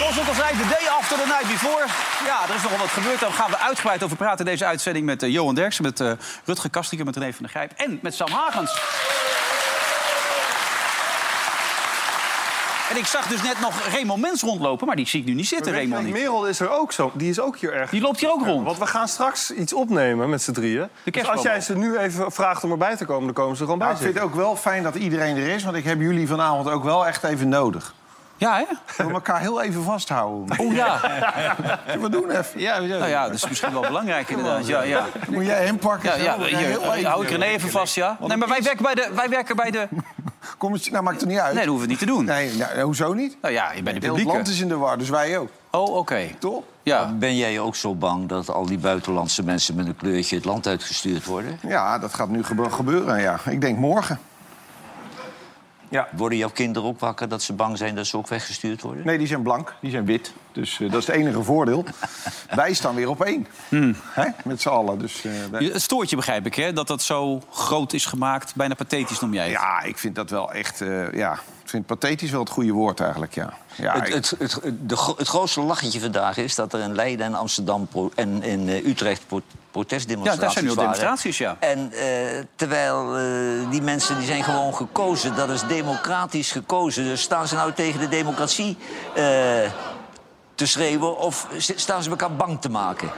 Consult als wij de day after the night before. Ja, er is nogal wat gebeurd. Daar gaan we uitgebreid over praten in deze uitzending met eh, Johan Derksen, met eh Rutger Kastrikum, met René van der Grijp en met Sam Hagens. En ik zag dus net nog Raymond Mens rondlopen, maar die zie ik nu niet zitten, Weet je Raymond. wat, niet. Merel is er ook zo. Die is ook hier erg. Die loopt hier ook rond. Want we gaan straks iets opnemen met z'n drieën. Dus als kerstboom. jij ze nu even vraagt om erbij te komen, dan komen ze er gewoon bij Maar ik vind zitten. het ook wel fijn dat iedereen er is, want ik heb jullie vanavond ook wel echt even nodig. Ja, hè? We moeten elkaar heel even vasthouden. Oh ja. We doen even. Ja, ja. nou ja, dat is misschien wel belangrijk inderdaad. Ja, ja. Moet jij hem pakken? Ja, zo? ja, We gaan hier, heel even- hou ik René even vast, ja? Nee, maar wij werken bij de... Wij werken bij de... Kom eens, nou maakt het niet uit. Nee, dat hoeven we niet te doen. Nee, nou, hoezo niet? Nou ja, je bent de Heel het land publieke. is in de war, dus wij ook. Oh, oké. Toch? Ja. Ben jij ook zo bang dat al die buitenlandse mensen met een kleurtje het land uitgestuurd worden? Ja, dat gaat nu gebe- gebeuren, ja. Ik denk morgen. Worden jouw kinderen ook wakker dat ze bang zijn dat ze ook weggestuurd worden? Nee, die zijn blank, die zijn wit. Dus eh, dat is het enige voordeel. wij staan weer op één. Hmm. Hè? Met z'n allen. Dus, eh, wij- Het stoort je, begrijp ik, hè? Dat dat zo groot is gemaakt. Bijna pathetisch noem jij het. Ja, ik vind dat wel echt... eh, ja, ik vind pathetisch wel het goede woord eigenlijk, ja. ja Het, ik- het, het, de gro- het grootste lachetje vandaag is dat er in Leiden en Amsterdam pro- en in eh, Utrecht pro- protestdemonstraties Ja, daar zijn nu al waren. demonstraties, ja. En eh, terwijl eh, die mensen die zijn gewoon gekozen, dat is democratisch gekozen. Dus staan ze nou tegen de democratie eh, te schreeuwen of z- staan ze elkaar bang te maken?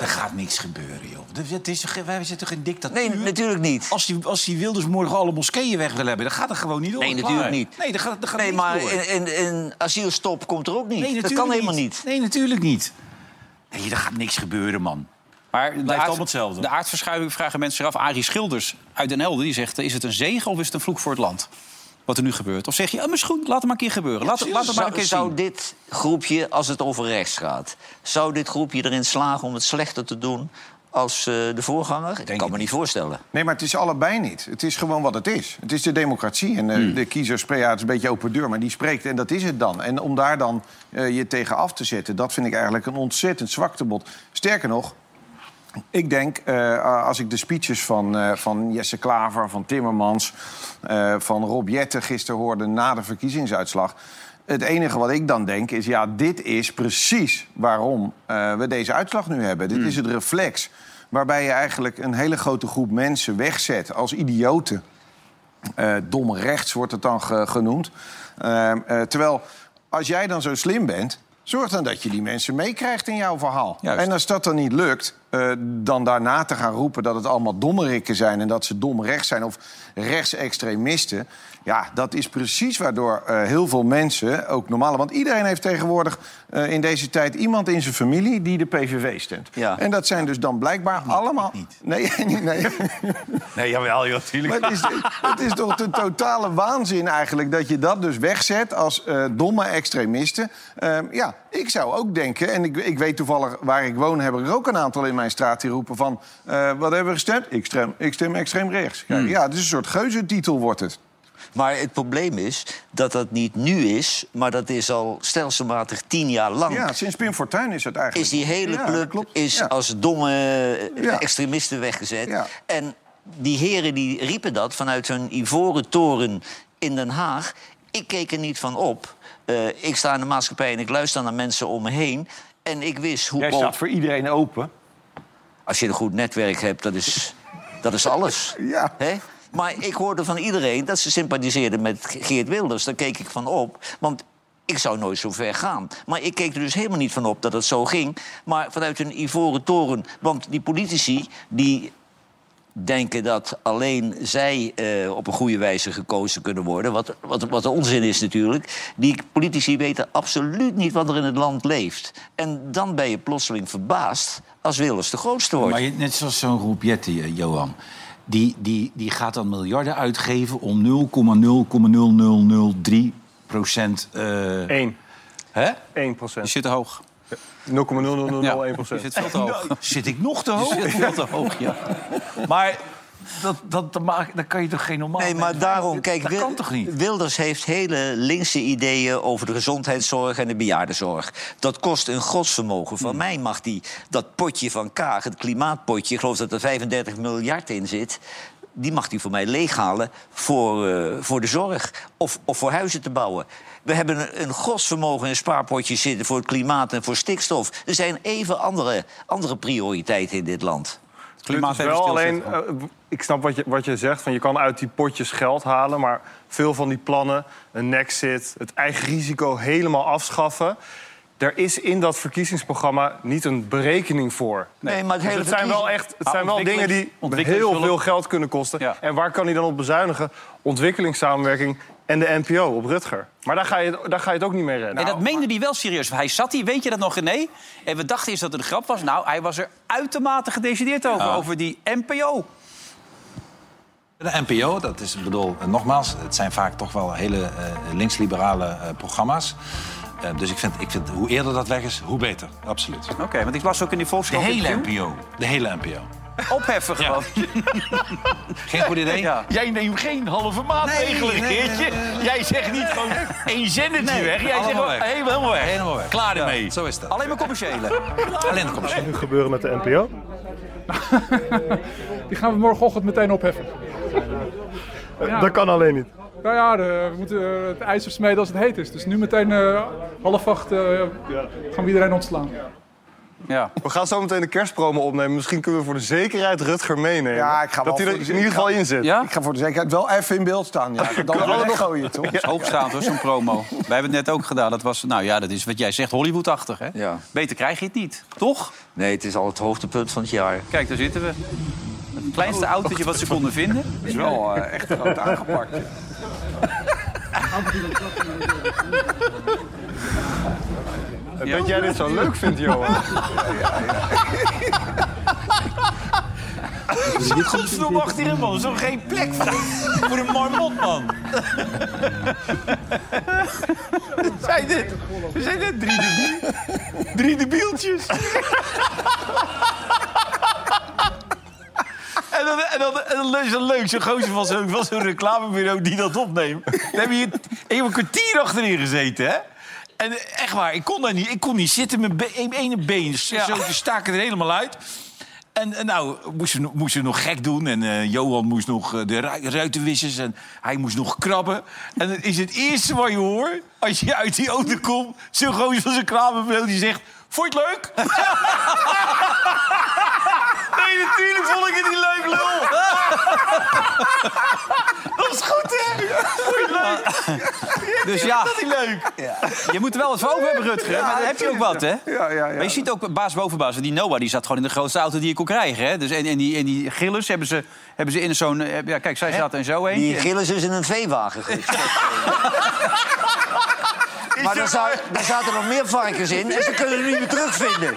Er gaat niks gebeuren, joh. Dat- dat is, ge- wij zitten toch in dictatuur? Nee, natuurlijk niet. Oh, Als die, als die Wilders morgen alle moskeeën weg wil hebben, dan gaat er gewoon niet door. Nee, Klaar. natuurlijk niet. Nee, dat gaat, dat gaat Nee, niet maar door. een, een, een asielstop komt er ook niet. Nee, dat natuurlijk kan helemaal niet. Nee, natuurlijk niet. Nee, er gaat niks gebeuren, man. Maar de blijft allemaal hetzelfde. De aardverschuiving vragen mensen zich af. Arie Schilders uit Den Helder die zegt... eh, is het een zegen of is het een vloek voor het land? Wat er nu gebeurt. Of zeg je, ah, maar is goed, laat het maar een keer gebeuren. Laat, het- laat het maar een Zou, keer zou zien. dit groepje, als het over rechts gaat... zou dit groepje erin slagen om het slechter te doen als eh, de voorganger? Ik kan me niet voorstellen. Nee, maar het is allebei niet. Het is gewoon wat het is. Het is de democratie. En eh, de kiezer spreekt, ja, het is een beetje open deur, maar die spreekt en dat is het dan. En om daar dan eh, je tegen af te zetten, dat vind ik eigenlijk een ontzettend zwaktebod. Sterker nog, ik denk, eh, als ik de speeches van, eh, van Jesse Klaver, van Timmermans... eh, van Rob Jetten gisteren hoorde na de verkiezingsuitslag... het enige wat ik dan denk is, ja, dit is precies waarom eh, we deze uitslag nu hebben. Dit is het reflex waarbij je eigenlijk een hele grote groep mensen wegzet als idioten. Eh, domme rechts wordt het dan ge- genoemd. Eh, eh, terwijl, als jij dan zo slim bent... zorg dan dat je die mensen meekrijgt in jouw verhaal. Juist. En als dat dan niet lukt, eh, dan daarna te gaan roepen... dat het allemaal dommerikken zijn en dat ze dom rechts zijn... of rechtsextremisten... Ja, dat is precies waardoor eh, heel veel mensen, ook normale... want iedereen heeft tegenwoordig eh, in deze tijd iemand in zijn familie... die de PVV stemt. Ja. En dat zijn dus dan blijkbaar allemaal... Nee, nee, nee. Nee, jawel, joh, natuurlijk. Maar het is, het is toch de totale waanzin eigenlijk dat je dat dus wegzet als eh, domme extremisten. Ehm, ja, ik zou ook denken, en ik, ik weet toevallig waar ik woon, hebben er ook een aantal in mijn straat die roepen van eh, wat hebben we gestemd? Ik stem, ik stem extreem rechts. Ja, Hmm. Ja, het is een soort geuzentitel wordt het. Maar het probleem is dat dat niet nu is... maar dat is al stelselmatig tien jaar lang... Ja, sinds Pim Fortuyn is het eigenlijk. is die hele Ja, dat club klopt. is Ja. als domme eh, Ja. extremisten weggezet. Ja. En die heren die riepen dat vanuit hun ivoren toren in Den Haag. Ik keek er niet van op. Eh, ik sta in de maatschappij en ik luister naar mensen om me heen. En ik wist hoe... pol- voor iedereen open. Als je een goed netwerk hebt, dat is, dat is alles. Ja. Hè? Maar ik hoorde van iedereen dat ze sympathiseerden met Geert Wilders. Daar keek ik van op. Want ik zou nooit zo ver gaan. Maar ik keek er dus helemaal niet van op dat het zo ging. Maar vanuit een ivoren toren. Want die politici die denken dat alleen zij eh, op een goede wijze gekozen kunnen worden. Wat, wat, wat de onzin is natuurlijk. Die politici weten absoluut niet wat er in het land leeft. En dan ben je plotseling verbaasd als Wilders de grootste wordt. Maar je- net zoals zo'n groep Jetten, eh, Johan. Die, die, die gaat dan miljarden uitgeven om 0,0,0003 procent... eh, Eén. Hè? 1 Je procent. 0,0001 zit te hoog. Je zit veel te hoog. Zit ik nog te Je hoog? zit veel te hoog, ja. Maar dat, dat, dat, maak- dan kan je toch geen normaal... Nee, maar mens- daarom, kijk, Oh, dat Wil- kan toch niet? Wilders heeft hele linkse ideeën over de gezondheidszorg en de bejaardenzorg. Dat kost een godsvermogen. Hmm. Van mij mag die, dat potje van Kaag, het klimaatpotje, ik geloof dat er 35 miljard in zit. Die mag hij voor mij leeghalen voor, eh, voor de zorg of, of voor huizen te bouwen. We hebben een, een godsvermogen in spaarpotjes zitten voor het klimaat en voor stikstof. Er zijn even andere, andere prioriteiten in dit land. Klimaat dus even wel alleen, stilzetten. eh, w- ik snap wat je, wat je zegt, van je kan uit die potjes geld halen... maar veel van die plannen, een nexit, het eigen risico helemaal afschaffen... er is in dat verkiezingsprogramma niet een berekening voor. Nee, maar het Dus hele het zijn wel, verkiezing- echt, het Ah, zijn wel dingen ontwikkelings- die heel ontwikkelingshulp. veel geld kunnen kosten. Ja. En waar kan hij dan op bezuinigen? Ontwikkelingssamenwerking en de NPO op Rutger. Maar daar ga je, daar ga je het ook niet mee redden. En dat meende hij wel serieus. Hij zat hier, weet je dat nog, René? En we dachten eerst dat het een grap was. Nou, hij was er uitermate gedecideerd over, Ah. over die NPO. De NPO, dat is, ik bedoel, eh, nogmaals, het zijn vaak toch wel hele eh, linksliberale eh, programma's. Eh, dus ik vind, ik vind, hoe eerder dat weg is, hoe beter. Absoluut. Oké, want ik las ook in die De Volkskrant... hele interview. NPO. De hele NPO. Opheffen gewoon. Geen goed idee? Ja. Jij neemt geen halve maatregelen, Nee, nee, Geertje. Jij zegt niet gewoon één zendertje Nee, weg. Jij zegt allemaal wel weg. helemaal weg. Helemaal weg. Klaar ermee. Zo is dat. Alleen maar commerciële. Alleen de commissie. nu gebeuren met de NPO? Die gaan we morgenochtend meteen opheffen. Dat kan alleen niet. Nou ja, de- we moeten eh, het ijzer smeden als het heet is. Dus nu meteen eh, half acht eh, gaan we iedereen ontslaan. Ja. Nou, We gaan zo meteen de kerstpromo opnemen. Misschien kunnen we voor de zekerheid Rutger meenemen. Ja, ik ga wel dat hij voor er de in ieder geval zekerheid- in zit. Ja? Ik ga voor de zekerheid wel even in beeld staan. Ja. Dan kan ik gooien, toch? Dat is hoogstaand hoor, zo'n promo. Wij hebben het net ook gedaan. Dat was, nou ja, dat is wat jij zegt, Hollywoodachtig. Hè? Ja. Beter krijg je het niet, toch? Nee, het is al het hoogtepunt van het jaar. Kijk, daar zitten we. Het kleinste autootje wat ze konden vinden. Dat is wel eh, echt groot aangepakt. ja. Dat jij dit zo leuk vindt, Johan. Godverdomme achterin, man. Er is nog geen plek voor, voor een marmot, man. zijn dit, zijn dit drie, debiel, drie debieltjes? En dan, en, dan, en dan is het leuk, zo'n gozer van zo'n van zo'n reclamebureau die dat opneemt. Dan heb je, ik heb een kwartier achterin gezeten, hè? En echt waar, ik kon daar niet, ik kon niet zitten. Mijn be- ene been zo, zo staken er helemaal uit. En, en nou, moesten we moesten we nog gek doen. En eh, Johan moest nog eh, de ru- ruitenwissers en hij moest nog krabben. En het is het eerste wat je hoort als je uit die auto komt. Zo'n gozer van zijn kramenbeeld die zegt... Vond je het leuk? nee, natuurlijk vond ik het niet leuk, lul. Dat is goed, hè? Vond je het leuk? Dus ja, Dat is niet leuk. je moet er wel wat voor over hebben, Rutger. Maar daar heb je ook wat, hè? Ja, ja, Maar je ziet ook baas boven baas. Die Noah die zat gewoon in de grootste auto die je kon krijgen. Hè? Dus en, en, die, en die Gillis hebben ze, hebben ze in zo'n... eh, Ja, kijk, zij zaten in zo heen. Die Gillis is dus in een veewagen gestopt. maar daar, zou, daar zaten nog meer varkens in en ze kunnen het niet meer terugvinden.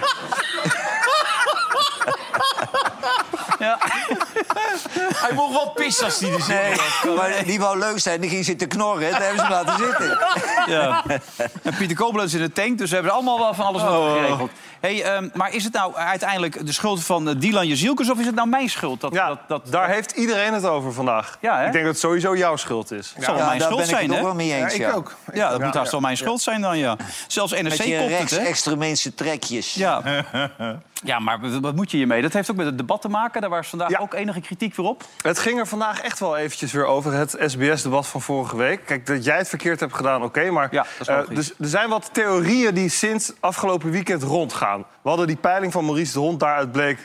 Hij mocht wel pissen als hij er zin in had. Maar die wou leuk zijn, die ging zitten knorren en daar hebben ze hem laten zitten. En Pieter Koblenz in de tank, dus we hebben allemaal wel van alles wat Oh. geregeld. Hey, ehm, maar is het nou uiteindelijk de schuld van eh, Dylan Jezielkes... of is het nou mijn schuld? Dat, Ja, dat, dat, daar heeft iedereen het over vandaag. Ja, hè? ik denk dat het sowieso jouw schuld is. zal wel Ja, daar mijn ben schuld ik het zijn, ook hè? wel mee eens. ik ja. ook. Ja, dat moet haast wel mijn schuld zijn dan, ja. Zelfs NRC Met kopt die het, hè? rechtsextremeense trekjes. Ja. ja, maar w- wat moet je hiermee? Dat heeft ook met het debat te maken. Daar was vandaag Ja. ook enige kritiek weer op. Het ging er vandaag echt wel eventjes weer over, het SBS-debat van vorige week. Kijk, dat jij het verkeerd hebt gedaan, oké, maar Ja, dat is eh, logisch. dus, er zijn wat theorieën die sinds afgelopen weekend rondgaan. We hadden die peiling van Maurice de Hond, daaruit bleek...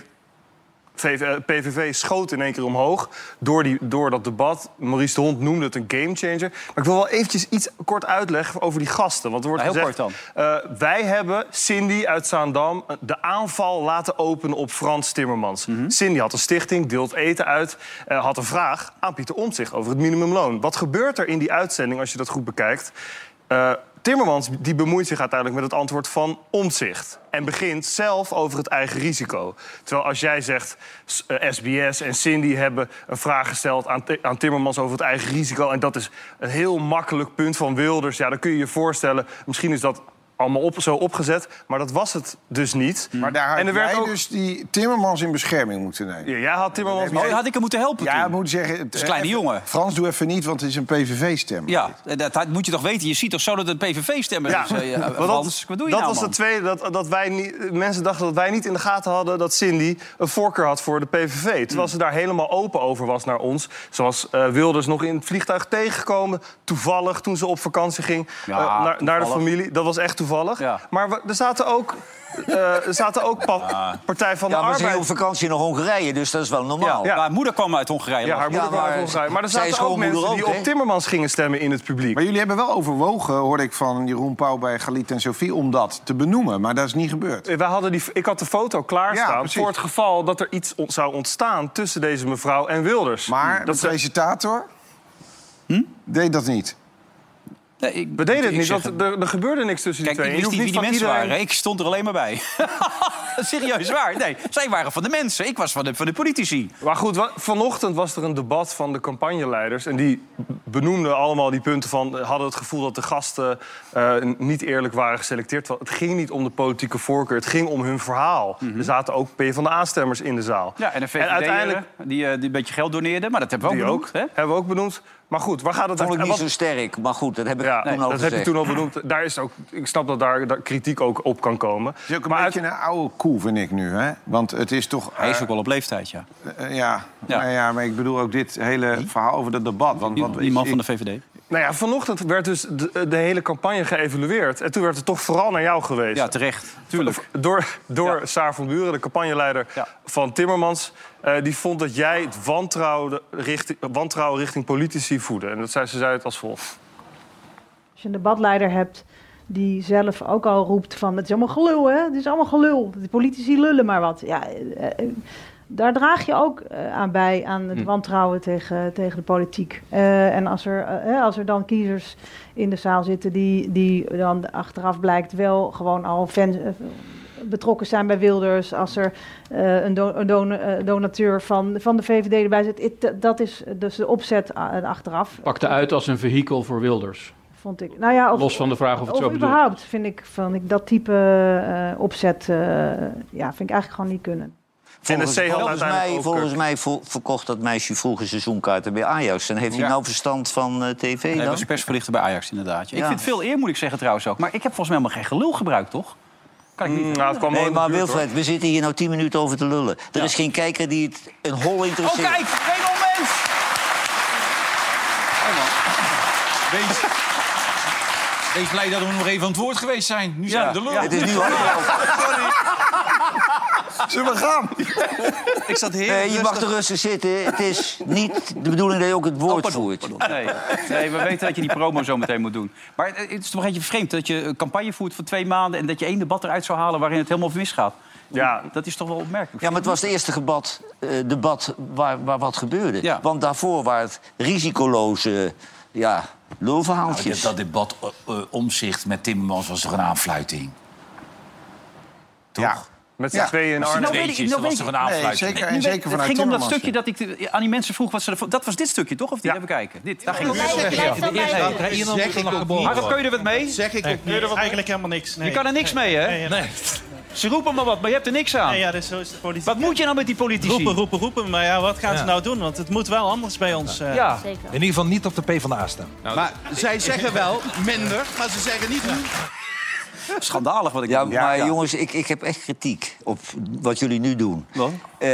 VV eh, PVV schoot in één keer omhoog door, die, door dat debat. Maurice de Hond noemde het een gamechanger. Maar ik wil wel eventjes iets kort uitleggen over die gasten. Want er wordt Nou, heel gezegd, eh, wij hebben Cindy uit Zaandam eh, de aanval laten openen op Frans Timmermans. Cindy had een stichting, deelt eten uit, eh, had een vraag aan Pieter Omtzigt over het minimumloon. Wat gebeurt er in die uitzending als je dat goed bekijkt? Eh, Timmermans die bemoeit zich uiteindelijk met het antwoord van Omtzigt. En begint zelf over het eigen risico. Terwijl als jij zegt, s- eh, SBS en Cindy hebben een vraag gesteld aan, Ti- aan Timmermans over het eigen risico. En dat is een heel makkelijk punt van Wilders. Ja, dan kun je je voorstellen, misschien is dat allemaal op, zo opgezet. Maar dat was het dus niet. Maar daar had en er werd jij ook... dus die Timmermans in bescherming moeten nemen. Ja, jij had Timmermans... Nee, Oh, had ik hem moeten helpen Ja, ik toen? moet zeggen... Het is een kleine even- jongen. Frans, doe even niet, want het is een PVV-stem. Ja, dat, dat moet je toch weten. Je ziet toch zo dat het PVV-stemmer Ja, is. eh, eh, want Frans, wat doe je dat nou, was man? het tweede, dat, dat wij niet, mensen dachten dat wij niet in de gaten hadden... dat Cindy een voorkeur had voor de PVV. Terwijl ze daar helemaal open over was naar ons. Zoals eh, Wilders nog in het vliegtuig tegengekomen. Toevallig toen ze op vakantie ging Ja, eh, naar, naar de toevallig. familie. Dat was echt toevallig. Ja. Maar we- er zaten ook, eh, er zaten ook pa- Partij van Ja, de maar ze Arbeid... ging op vakantie naar Hongarije, dus dat is wel normaal. Ja, Haar moeder kwam uit Hongarije. Ja, haar moeder maar- maar, maar, maar er zij is zaten ook gewoon mensen moeder die ook, op hè? Timmermans gingen stemmen in het publiek. Maar jullie hebben wel overwogen, hoorde ik van Jeroen Pauw bij Galit en Sofie... om dat te benoemen, maar dat is niet gebeurd. Wij hadden die, ik had de foto Ja, klaarstaan precies. voor het geval dat er iets ont- zou ontstaan tussen deze mevrouw en Wilders. Hmm. Maar dat de ze- presentator Hm? deed dat niet. Nee, ik- we deden het ik niet, zeg want er, er gebeurde niks tussen Kijk, die ik twee. En je wist niet hoeft wie die van mensen iedereen- waren. Ik stond er alleen maar bij. Serieus waar. Nee, zij waren van de mensen. Ik was van de, van de politici. Maar goed, wa- vanochtend was er een debat van de campagneleiders. En die benoemden allemaal die punten van... eh, hadden het gevoel dat de gasten eh, niet eerlijk waren geselecteerd. Want Het ging niet om de politieke voorkeur, het ging om hun verhaal. Er zaten ook PvdA-stemmers in de zaal. Mhm. Ja, en de VVD uiteindelijk- die, eh, die een beetje geld doneerden. Maar dat hebben we ook Die benoemd. ook, Hè? hebben we ook benoemd. Maar goed, waar gaat het Vond ik niet wat- zo sterk, maar goed, dat heb ik Ja, toen al dat heb gezegd. je toen al benoemd. Daar is ook, ik snap dat daar, daar kritiek ook op kan komen. Het is ook een maar beetje een oude koe, vind ik nu. Hè? Want het is toch... Hij is eh, ook wel op leeftijd, ja. eh, ja. Ja. Nou ja, maar ik bedoel ook dit hele verhaal over dat debat. Want, Die, want die man ik- van de VVD. nou ja, vanochtend werd dus de, de hele campagne geëvalueerd. En toen werd het toch vooral naar jou geweest. Ja, terecht. Tuurlijk. Door, door Ja. Saar van Buren, de campagneleider Ja. van Timmermans... eh, die vond dat jij het wantrouwen richting, wantrouwen richting politici voedde. En dat zei, ze zei het als volgt. Als je een debatleider hebt die zelf ook al roept van... het is allemaal gelul, hè? Het is allemaal gelul. De politici lullen maar wat. Ja, eh, eh, daar draag je ook eh, aan bij, aan Hm. het wantrouwen tegen, tegen de politiek. Eh, en als er, eh, hè, als er dan kiezers in de zaal zitten... die, die dan achteraf blijkt wel gewoon al fan... eh, betrokken zijn bij Wilders, als er eh, een, do- een don- eh, donateur van, van de VVD erbij zit. Het- dat is dus de opzet eh, achteraf, pakte uit als een vehikel voor Wilders. vond ik. Nou ja, of, Los van de vraag of het zo of bedoeld überhaupt vind ik, van ik dat type eh, opzet, eh, ja, vind ik eigenlijk gewoon niet kunnen. NSC had volgens uiteindelijk mij, ook, eh, volgens mij vo- verkocht dat meisje vroeger seizoenkaarten bij Ajax. En heeft hij nou verstand van eh, tv Hij dan? was persverlichter bij Ajax, inderdaad. Ik Ja. vind het veel eer, moet ik zeggen trouwens ook. Maar ik heb volgens mij helemaal geen gelul gebruikt, toch? Kan ik niet. Nou, het kwam wel Nee, in de maar buurt, Wilfred, we zitten hier nou tien minuten over te lullen. Er is geen kijker die het een hol Oh, interesseert. kijk! Raymond Mens! Hey, man. Wees, wees blij dat we nog even aan het woord geweest zijn. Nu zijn Ja, we de lul. ja. Het is nu afgelopen. Zullen we gaan? Ik zat heel Nee, je mag er rustig zitten. Het is niet de bedoeling dat je ook het woord voert. Oh, Nee, nee, we weten dat je die promo zo meteen moet doen. Maar eh, het het is toch een beetje vreemd dat je een campagne voert voor twee maanden... en dat je één debat eruit zou halen waarin het helemaal misgaat. Ja. Dat is toch wel opmerkelijk. Ja, maar het was het eerste gebad, eh, debat waar, waar wat gebeurde. Ja. Want daarvoor waren het risicoloze ja, Nou, dat, lulverhaaltjes. dat debat eh, eh, omzicht met Timmermans was toch een aanfluiting? Ja. Met z'n Ja. tweeën in Als je Arnhem. weet ik- weet je, nou dat was weet toch ik- een Nee, aanfluiting? zeker, Nu en weet- zeker het vanuit ging om dat Timmermans. stukje dat ik de- aan die mensen vroeg wat ze ervan... Dat was dit stukje, toch? Of niet? Ja. Even kijken. Dit, daar ging het om. is. Ierland wordt er nog geboren. Harald, kun je er wat mee? Zeg ik ook niet. Eigenlijk helemaal niks. Nee. Je kan er niks mee, hè? Nee, Nee. Ze roepen maar wat, maar je hebt er niks aan. Nee, ja, dus zo is de politiek. Wat moet je nou met die politici? Roepen, roepen, roepen. Maar ja, wat gaan ze nou doen? Want het moet wel anders bij ons. eh. Ah, Ja. In ieder geval niet op de PvdA staan. Maar zij zeggen wel minder, maar ze zeggen niet hoe. Schandalig wat ik Ja, doe. maar jongens, ik, ik heb echt kritiek op wat jullie nu doen. Wat? Eh,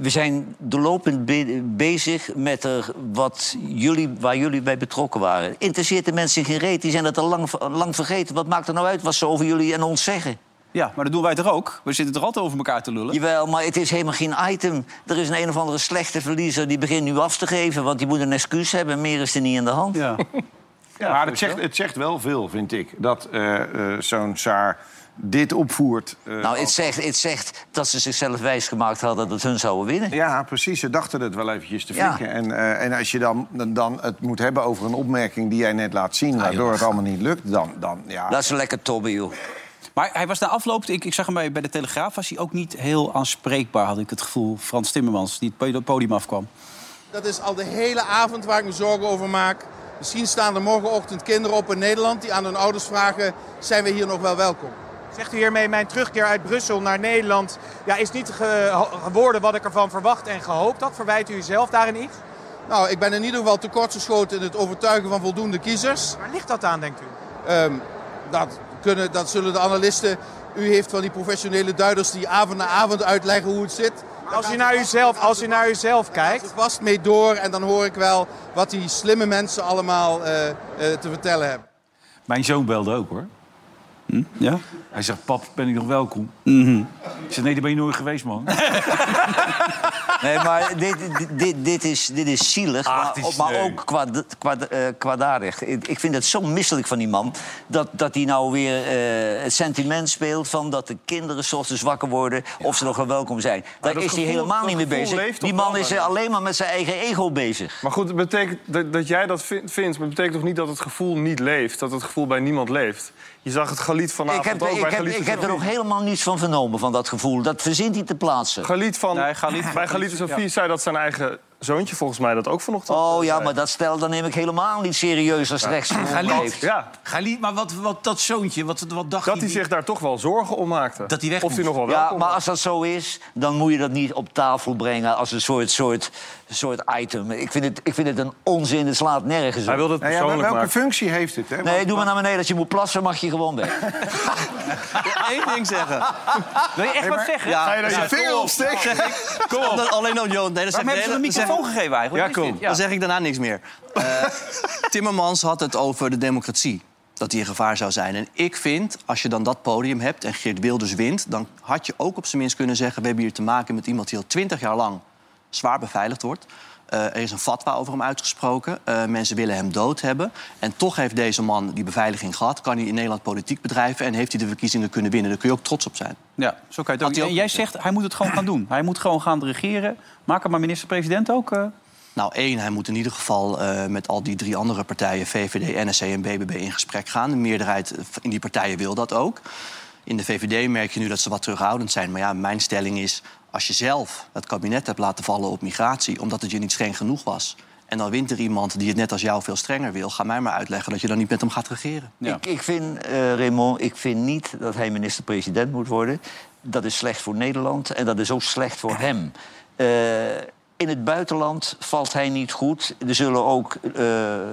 we zijn doorlopend be- bezig met er wat jullie, waar jullie bij betrokken waren. Interesseert de mensen geen reet, die zijn dat al lang, lang vergeten. Wat maakt er nou uit wat ze over jullie en ons zeggen? Ja, maar dat doen wij toch ook? We zitten toch altijd over elkaar te lullen? Jawel, maar het is helemaal geen item. Er is een een of andere slechte verliezer die begint nu af te geven... want die moet een excuus hebben, meer is er niet aan de hand. Ja. maar het zegt, het zegt wel veel, vind ik, dat eh, eh, zo'n Saar dit opvoert. eh, Nou, het zegt, het zegt dat ze zichzelf wijsgemaakt hadden dat hun zouden winnen. Ja, precies. Ze dachten het wel eventjes te Ja. flikken. En, eh, en als je dan, dan het moet hebben over een opmerking die jij net laat zien... waardoor het allemaal niet lukt, dan... dan ja. Nou Dat is lekker tobben, joh. Maar hij was na afloop, ik, ik zag hem bij bij de Telegraaf... was hij ook niet heel aanspreekbaar, had ik het gevoel. Frans Timmermans, die het podium afkwam. Dat is al de hele avond waar ik me zorgen over maak. Misschien staan er morgenochtend kinderen op in Nederland die aan hun ouders vragen: zijn we hier nog wel welkom? Zegt u hiermee mijn terugkeer uit Brussel naar Nederland ja, is niet ge- geworden wat ik ervan verwacht en gehoopt had? Verwijt u uzelf daarin iets? Nou, ik ben in ieder geval tekortgeschoten in het overtuigen van voldoende kiezers. Waar ligt dat aan, denkt u? Ehm, dat, kunnen, dat zullen de analisten. U heeft van die professionele duiders die avond na avond uitleggen hoe het zit. Als u naar uzelf, als u naar uzelf kijkt. Ik vast mee door en dan hoor ik wel wat die slimme mensen allemaal eh, eh, te vertellen hebben. Mijn zoon belde ook hoor. Hm? Ja? Mhm. Hij zegt, pap, ben ik nog welkom? Ik zeg, nee, daar ben je nooit geweest, man. Nee, maar dit, dit- dit, dit, is, dit is zielig, maar, het is maar leuk. ook kwaad, kwaad, eh, kwaadaardig. Ik ik vind het zo misselijk van die man... dat hij nou weer eh, het sentiment speelt van dat de kinderen 's ochtends wakker worden... of ze nog wel welkom zijn. Daar dat is hij gevoel- helemaal dat niet mee gevoel bezig. leeft Die toch man wel, is hè? eh, alleen maar met zijn eigen ego bezig. Maar goed, het betekent dat, dat jij dat vin- vindt, maar het betekent toch niet dat het gevoel niet leeft? Dat het gevoel bij niemand leeft? Je zag het Galiet vanavond Ik heb, ook bij ik heb, Galiet. ik heb er ook helemaal niets van vernomen, van dat gevoel. Dat verzint hij te plaatsen. Galiet van, bij Galiet en Sofie zei dat zijn eigen zoontje volgens mij dat ook vanochtend. eh, Oh ja, maar dat stel dan neem ik helemaal niet serieus als rechtsgevoel Galit, blijft. Galit, maar wat, wat dat zoontje, wat, wat dacht Dat hij zich daar toch wel zorgen om maakte. Dat hij weg Of hij nog wel Ja, welkom maar als dat zo is, dan moet je dat niet op tafel brengen als een soort, soort, soort item. Ik vind, het, ik vind het een onzin, het slaat nergens op. Hij wilde het Nou ja, maar welke functie heeft het? Hè? Nee, doe maar naar beneden. Als je moet plassen, mag je gewoon weg. Eén ding zeggen. Wil je echt wat zeggen? Ja, Ga je nou ja, je vinger kom op. opsteken? Zeg ik, Kom op. Dan alleen dan Johan. Nee, dan zeg ik Waarom heeft de hij hele- een microfoon zeg- gegeven eigenlijk? Ja, Wat is kom. dit? Ja. Dan zeg ik daarna niks meer. Eh, Timmermans had het over de democratie. Dat die in gevaar zou zijn. En ik vind, als je dan dat podium hebt en Geert Wilders wint... dan had je ook op zijn minst kunnen zeggen... we hebben hier te maken met iemand die al twintig jaar lang zwaar beveiligd wordt. Eh, er is een fatwa over hem uitgesproken. Eh, mensen willen hem dood hebben. En toch heeft deze man die beveiliging gehad. Kan hij in Nederland politiek bedrijven... en heeft hij de verkiezingen kunnen winnen. Daar kun je ook trots op zijn. Ja, zo kan je het Had hij ook. ook En jij zegt, hij moet het gewoon gaan doen. Hij moet gewoon gaan regeren. Maak hem maar minister-president ook. eh. Nou, één, hij moet in ieder geval eh, met al die drie andere partijen... VVD, NSC en BBB in gesprek gaan. De meerderheid in die partijen wil dat ook. In de VVD merk je nu dat ze wat terughoudend zijn. Maar ja, mijn stelling is... als je zelf het kabinet hebt laten vallen op migratie... omdat het je niet streng genoeg was... en dan wint er iemand die het net als jou veel strenger wil... ga mij maar uitleggen dat je dan niet met hem gaat regeren. Ik, ik vind, eh, Raymond, ik vind niet dat hij minister-president moet worden. Dat is slecht voor Nederland en dat is ook slecht voor hem. Eh, in het buitenland valt hij niet goed. Er zullen ook eh,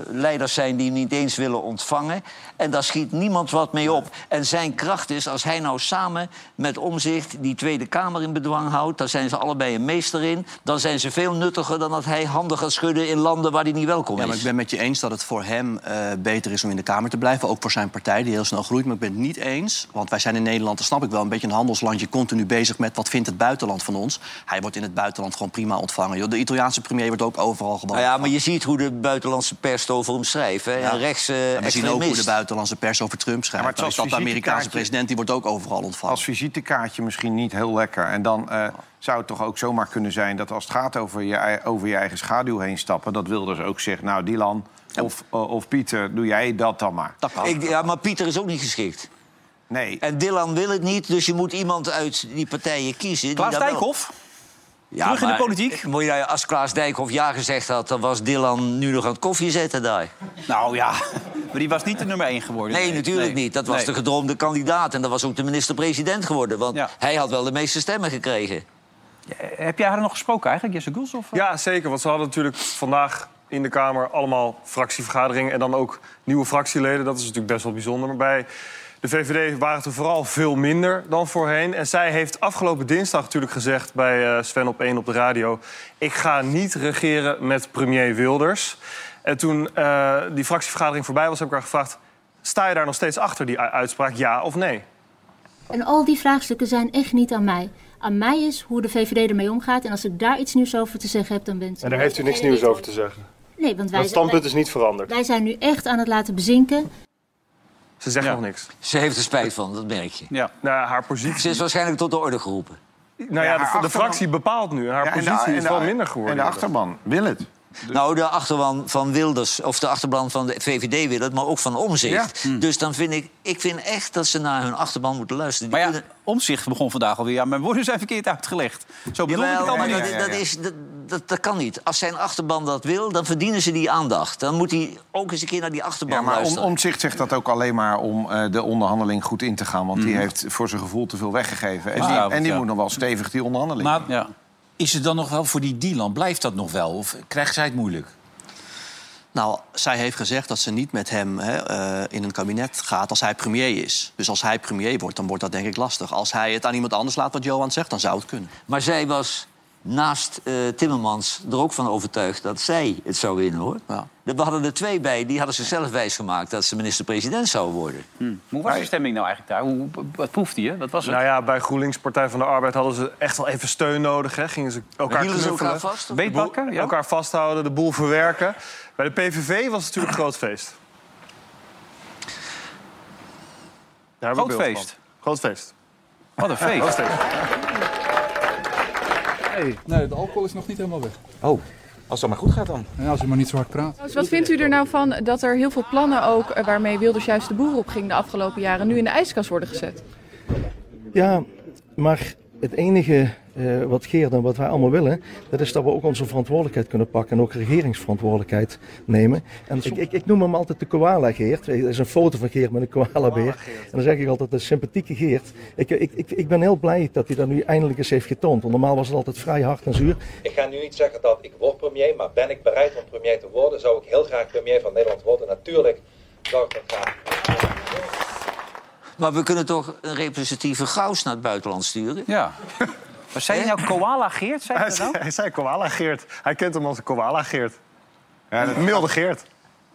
leiders zijn die hem niet eens willen ontvangen. En daar schiet niemand wat mee op. En zijn kracht is, als hij nou samen met Omzicht die Tweede Kamer in bedwang houdt... daar zijn ze allebei een meester in... dan zijn ze veel nuttiger dan dat hij handen gaat schudden in landen waar hij niet welkom Ja, is. maar ik ben met je eens dat het voor hem eh, beter is om in de Kamer te blijven. Ook voor zijn partij, die heel snel groeit. Maar ik ben het niet eens, want wij zijn in Nederland, dat snap ik wel... een beetje een handelslandje, continu bezig met wat vindt het buitenland van ons. Hij wordt in het buitenland gewoon prima ontvangen. joh. De Italiaanse premier wordt ook overal gewoon... Nou ja, maar je ziet hoe de buitenlandse pers het over hem schrijft. Hè? Een rechts eh, we zien ook hoe de extremist. buitenlandse pers over Trump schrijft. Ja, maar het Dan is was dat de Amerikaanse visitekaartje. president, die wordt ook overal ontvangen. Als visitekaartje misschien niet heel lekker. En dan eh, zou het toch ook zomaar kunnen zijn dat als het gaat over je, ei- over je eigen schaduw heen stappen, dat Wilders ook zegt: Nou, Dylan of, eh, of Pieter, doe jij dat dan maar. Ik, ja, maar Pieter is ook niet geschikt. Nee. En Dylan wil het niet, dus je moet iemand uit die partijen kiezen. die Klaas daar wel- Dijkhoff? terug in de maar, politiek? eh, Moet je, nou- als Klaas Dijkhoff ja gezegd had, dan was Dylan nu nog aan het koffie zetten daar. Nou ja, maar die was niet de nummer één geworden. Nee, natuurlijk niet. Dat was Nee. de gedroomde kandidaat. En dat was ook de minister-president geworden. Want hij had wel de meeste stemmen gekregen. Eh, Heb jij haar nog gesproken eigenlijk, Jesse Goels? Of... eh? Ja, zeker. Want ze hadden natuurlijk vandaag in de Kamer allemaal fractievergaderingen... en dan ook nieuwe fractieleden. Dat is natuurlijk best wel bijzonder. Maar bij de VVD waren het er vooral veel minder dan voorheen. En zij heeft afgelopen dinsdag natuurlijk gezegd bij eh, Sven op 1 op de radio... ik ga niet regeren met premier Wilders. En toen eh, die fractievergadering voorbij was, heb ik haar gevraagd... sta je daar nog steeds achter, die u- uitspraak, ja of nee? En al die vraagstukken zijn echt niet aan mij. Aan mij is hoe de VVD ermee omgaat. En als ik daar iets nieuws over te zeggen heb, dan ben ik... En daar heeft u niks nieuws over te zeggen. Nee, want wij, Dat standpunt wij- is niet veranderd. wij zijn nu echt aan het laten bezinken. Ze zegt nog niks. Ze heeft er spijt van, dat merk je. Ja. Nou, haar positie... Ze is waarschijnlijk tot de orde geroepen. Nou ja, de, de fractie bepaalt nu. en Haar Ja, en de- positie en is de- wel minder geworden. En de achterban wil het. Dus- Nou, de achterban van Wilders, of de achterban van de VVD wil het, maar ook van Omzicht. Ja. Hm. Dus dan vind ik, ik vind echt dat ze naar hun achterban moeten luisteren. Die Maar ja, omzicht begon vandaag alweer. Ja, mijn woorden zijn verkeerd uitgelegd. Zo bedoel Jawel, ik het allemaal maar niet. dat- Dat, is, dat, dat, dat kan niet. Als zijn achterban dat wil, dan verdienen ze die aandacht. Dan moet hij ook eens een keer naar die achterban Ja, maar om, luisteren. Omtzigt zegt dat ook alleen maar om eh, de onderhandeling goed in te gaan. Want Mhm. die heeft voor zijn gevoel te veel weggegeven. En Ja, die, want en die ja. moet nog wel stevig die onderhandeling. Maar is het dan nog wel voor die Dylan? Blijft dat nog wel? Of krijgt zij het moeilijk? Nou, zij heeft gezegd dat ze niet met hem hè, eh, in een kabinet gaat als hij premier is. Dus als hij premier wordt, dan wordt dat denk ik lastig. Als hij het aan iemand anders laat, wat Johan zegt, dan zou het kunnen. Maar zij was naast eh, Timmermans er ook van overtuigd dat zij het zou winnen, hoor. We hadden er twee bij, die hadden zichzelf wijsgemaakt dat ze minister-president zou worden. Hoe was de stemming nou eigenlijk daar? Hoe, wat proefde je? Wat was het? Nou ja, bij GroenLinks Partij van de Arbeid hadden ze echt wel even steun nodig. Hè. Gingen ze elkaar Hielden ze knuffelen. elkaar vast, of? De boel- Beetpakken, ja. Elkaar vasthouden, de boel verwerken. Bij de PVV was het natuurlijk een groot feest. Daar hebben we beeld Groot van. feest. Groot feest. Wat een feest. Groot feest. Nee, de alcohol is nog niet helemaal weg. Oh, als dat maar goed gaat dan. Ja, als je maar niet zo hard praat. Dus wat vindt u er nou van dat er heel veel plannen ook eh, waarmee Wilders juist de boer op ging de afgelopen jaren nu in de ijskast worden gezet? Ja, maar het enige eh, wat Geert en wat wij allemaal willen, dat is dat we ook onze verantwoordelijkheid kunnen pakken en ook regeringsverantwoordelijkheid nemen. En ik, ik, ik noem hem altijd de koala Geert. Er is een foto van Geert met een koala beer. En dan zeg ik altijd de sympathieke Geert. Ik, ik, ik, ik ben heel blij dat hij dat nu eindelijk eens heeft getoond. Want normaal was het altijd vrij hard en zuur. Ik ga nu niet zeggen dat ik word premier, maar ben ik bereid om premier te worden? Zou ik heel graag premier van Nederland worden? Natuurlijk zou ik dat graag. Maar we kunnen toch een representatieve gaus naar het buitenland sturen? Ja. Maar zei je nou koala Geert? Zei Hij zei, hij zei Koala Geert. Hij kent hem als Koala Geert. Milde Geert.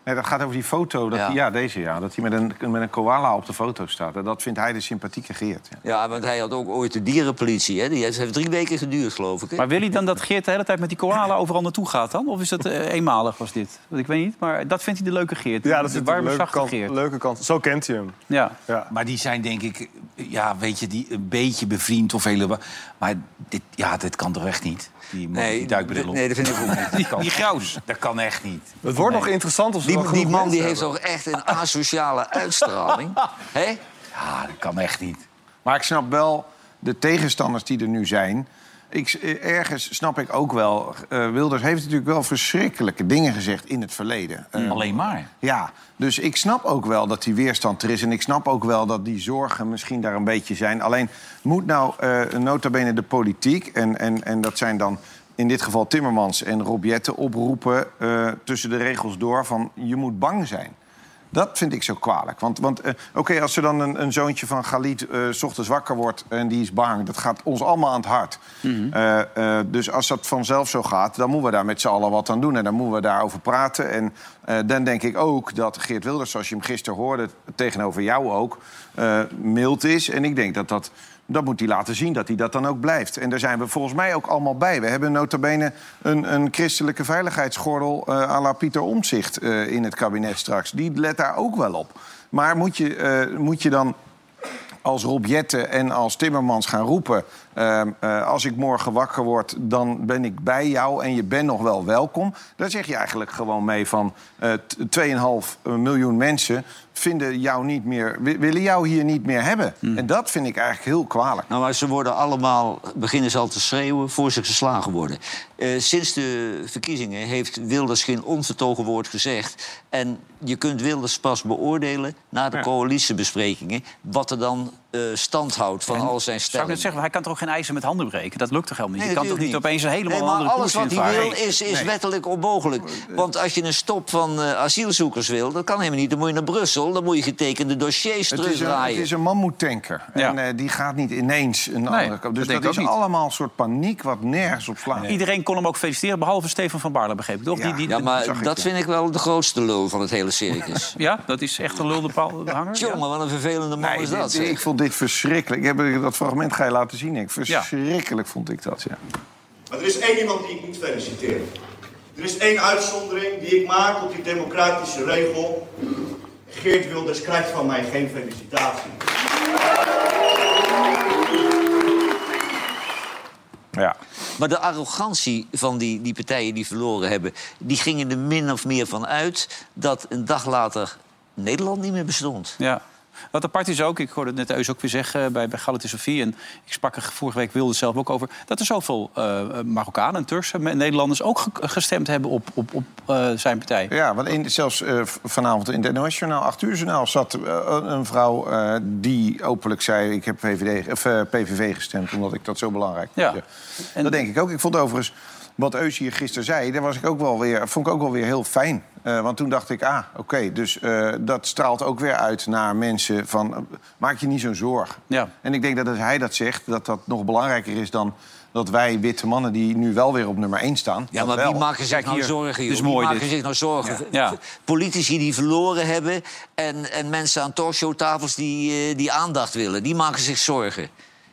Nee, dat gaat over die foto. Dat Ja. Die, ja, deze ja. Dat hij met een, met een koala op de foto staat. En dat vindt hij de sympathieke Geert. Ja. Ja, want hij had ook ooit de dierenpolitie. Hè? Die heeft, heeft drie weken geduurd, geloof ik. Hè? Maar wil hij dan dat Geert de hele tijd met die koala overal naartoe gaat dan? Of is dat eh, eenmalig was dit? Want Ik weet niet, maar dat vindt hij de leuke Geert. Ja, dat is de een leuke zachte kant, leuke kant. Zo kent hij hem. Ja. Maar die zijn denk ik, ja, weet je, die een beetje bevriend of helemaal. Maar dit, ja, dit kan toch echt niet? Die, man- Nee, die duikbril op. nee, dat vind ik ook niet. Die, die graus, dat kan echt niet. Het wordt nog interessant of ze wel Die, die genoeg man die mensen heeft toch hebben. echt een asociale uitstraling? Hè? Ja, dat kan echt niet. Maar ik snap wel de tegenstanders die er nu zijn. Ik, eh, ergens snap ik ook wel. eh, Wilders heeft natuurlijk wel verschrikkelijke dingen gezegd in het verleden. Mhm. Eh, Alleen maar. Ja, dus ik snap ook wel dat die weerstand er is. En ik snap ook wel dat die zorgen misschien daar een beetje zijn. Alleen moet nou eh nota bene de politiek... En, en, en dat zijn dan in dit geval Timmermans en Rob Jetten... oproepen eh, tussen de regels door van je moet bang zijn. Dat vind ik zo kwalijk. Want, want eh, oké, als er dan een, een zoontje van Galit eh, 's ochtends wakker wordt en die is bang... dat gaat ons allemaal aan het hart. Eh, eh, dus als dat vanzelf zo gaat, dan moeten we daar met z'n allen wat aan doen. En dan moeten we daarover praten. En eh, dan denk ik ook dat Geert Wilders, zoals je hem gisteren hoorde... tegenover jou ook, eh, mild is. En ik denk dat dat... Dat moet hij laten zien, dat hij dat dan ook blijft. En daar zijn we volgens mij ook allemaal bij. We hebben nota bene een, een christelijke veiligheidsgordel... eh à la Pieter Omtzigt eh, in het kabinet straks. Die let daar ook wel op. Maar moet je, eh, moet je dan als Rob Jetten en als Timmermans gaan roepen... ehm, eh, als ik morgen wakker word, dan ben ik bij jou en je bent nog wel welkom... daar zeg je eigenlijk gewoon mee van eh, t- 2,5 miljoen mensen... vinden jou niet meer, wi- willen jou hier niet meer hebben. En dat vind ik eigenlijk heel kwalijk. Nou, maar ze worden allemaal, beginnen ze al te schreeuwen, voor ze geslagen worden. Eh, sinds de verkiezingen heeft Wilders geen onvertogen woord gezegd. En je kunt Wilders pas beoordelen na de Ja. coalitiebesprekingen... wat er dan eh stand houdt van al zijn Zou ik stellingen. net zeggen, hij kan toch ook geen ijzer met handen breken? Dat lukt toch helemaal niet? Nee, je kan toch niet, natuurlijk opeens een helemaal nee, maar andere alles koers wat hij wil invaren? is, is Nee. wettelijk onmogelijk. Want als je een stop van eh, asielzoekers wil, dat kan helemaal niet. Dan moet je naar Brussel, dan moet je getekende dossiers Het is, een, het terugdraaien. is een mammoetanker. En eh, die gaat niet ineens een andere kant. Dus dat denk dat, is ik ook niet. allemaal een soort paniek wat nergens op slaat. Iedereen kon hem ook feliciteren, behalve Stefan van Baarle, begreep ik. Toch? Die, die, ja, maar zag ik, dat ja. vind ik wel de grootste lul van het hele circus. Ja, dat is echt een lulde paal- hanger. ja. Jongen, wat een vervelende man Nee, is dat. dit- zeg. ik vond dit verschrikkelijk. Ik heb dat fragment ga je laten zien. Ik. Verschrikkelijk vond ik dat, ja. Maar er is één iemand die ik moet feliciteren. Er is één uitzondering die ik maak op die democratische regel. Geert Wilders krijgt van mij geen felicitatie. Ja. Maar de arrogantie van die, die partijen die verloren hebben... die gingen er min of meer van uit dat een dag later Nederland niet meer bestond. Ja. Wat apart is ook, ik hoorde het net Eus ook weer zeggen eh, bij, bij Sofie... en ik sprak er vorige week Wilde zelf ook over... dat er zoveel eh, Marokkanen, Turkse me- Nederlanders ook ge- gestemd hebben op, op, op eh, zijn partij. Ja, want in, zelfs eh, v- vanavond in het NOS-journaal, 8 uur journaal... zat eh, een vrouw eh, die openlijk zei... ik heb VVD, ge- of, eh, PVV gestemd, omdat ik dat zo belangrijk Ja. vond. Dat denk ik ook. Ik vond overigens wat Eus hier gisteren zei... daar was ik ook wel weer, vond ik ook wel weer heel fijn. Eh, want toen dacht ik, ah, oké, dus eh, dat straalt ook weer uit naar mensen van... eh, maak je niet zo'n zorg. Ja. En ik denk dat als hij dat zegt, dat dat nog belangrijker is dan... dat wij witte mannen die nu wel weer op nummer 1 staan... Ja, maar wie maken zich nou zorgen, joh? Dus Wie maken zich nou zorgen? Ja. Politici die verloren hebben en, en mensen aan talkshowtafels die, eh, die aandacht willen. Die maken zich zorgen.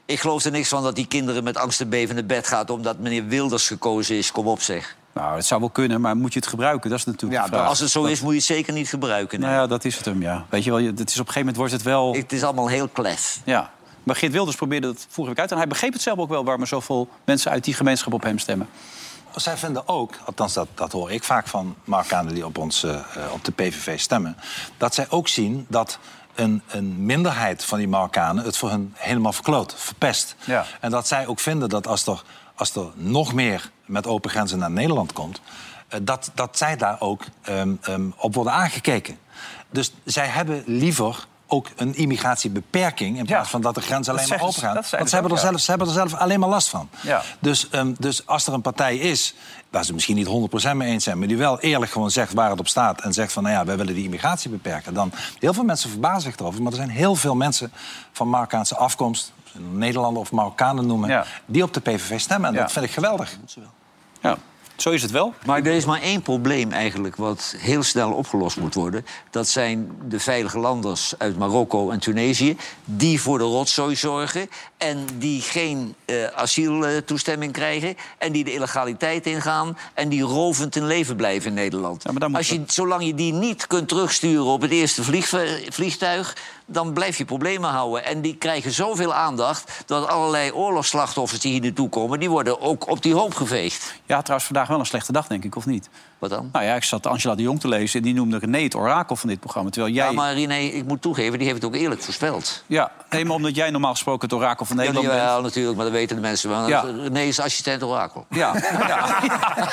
Ik geloof er niks van dat die kinderen met angst en beven naar bed gaan... omdat meneer Wilders gekozen is. Kom op, zeg. Nou, het zou wel kunnen, maar moet je het gebruiken? Dat is natuurlijk de vraag. Als het zo is, moet je het zeker niet gebruiken. Nou ja, dat is het hem, ja. Weet je wel, je- het is op een gegeven moment wordt het wel... Het is allemaal heel klef. Ja. Maar Geert Wilders probeerde dat vorige week uit. En hij begreep het zelf ook wel waarom er zoveel mensen uit die gemeenschap op hem stemmen. Zij vinden ook, althans dat, dat hoor ik vaak van Marokkanen die op, ons, eh, eh, op de PVV stemmen... dat zij ook zien dat een, een minderheid van die Marokkanen het voor hun helemaal verkloot, verpest. Ja. En dat zij ook vinden dat als er, als er nog meer met open grenzen naar Nederland komt... eh, dat, dat zij daar ook ehm, ehm, op worden aangekeken. Dus zij hebben liever ook een immigratiebeperking... in plaats van dat de grenzen alleen maar zeggen ze- open gaan. dat Want zeiden ze ze hebben, er ook, ja. zelf, ze hebben er zelf alleen maar last van. Ja. Dus, ehm, dus als er een partij is, waar ze misschien niet 100% mee eens zijn... maar die wel eerlijk gewoon zegt waar het op staat... en zegt van, nou ja, wij willen die immigratie beperken... dan heel veel mensen verbazen zich erover. Maar er zijn heel veel mensen van Marokkaanse afkomst... Nederlander of Marokkanen noemen, die op de PVV stemmen. En dat vind ik geweldig. Ja, zo is het wel. Maar er is maar één probleem eigenlijk wat heel snel opgelost moet worden. Dat zijn de veilige landers uit Marokko en Tunesië... die voor de rotzooi zorgen en die geen eh, asieltoestemming krijgen... en die de illegaliteit ingaan en die rovend in leven blijven in Nederland. Als je, zolang je die niet kunt terugsturen op het eerste vliegve- vliegtuig... dan blijf je problemen houden. En die krijgen zoveel aandacht dat allerlei oorlogsslachtoffers die hier naartoe komen... die worden ook op die hoop geveegd. Ja, trouwens vandaag wel een slechte dag, denk ik, of niet? Wat dan? Nou ja, ik zat Angela de Jong te lezen en die noemde René het orakel van dit programma. Terwijl jij... Ja, maar René, ik moet toegeven, die heeft het ook eerlijk voorspeld. Ja, nee, maar omdat jij normaal gesproken het orakel van Nederland ja, bent. jawel, natuurlijk, maar dat weten de mensen wel. Ja. René is assistent orakel. Ja.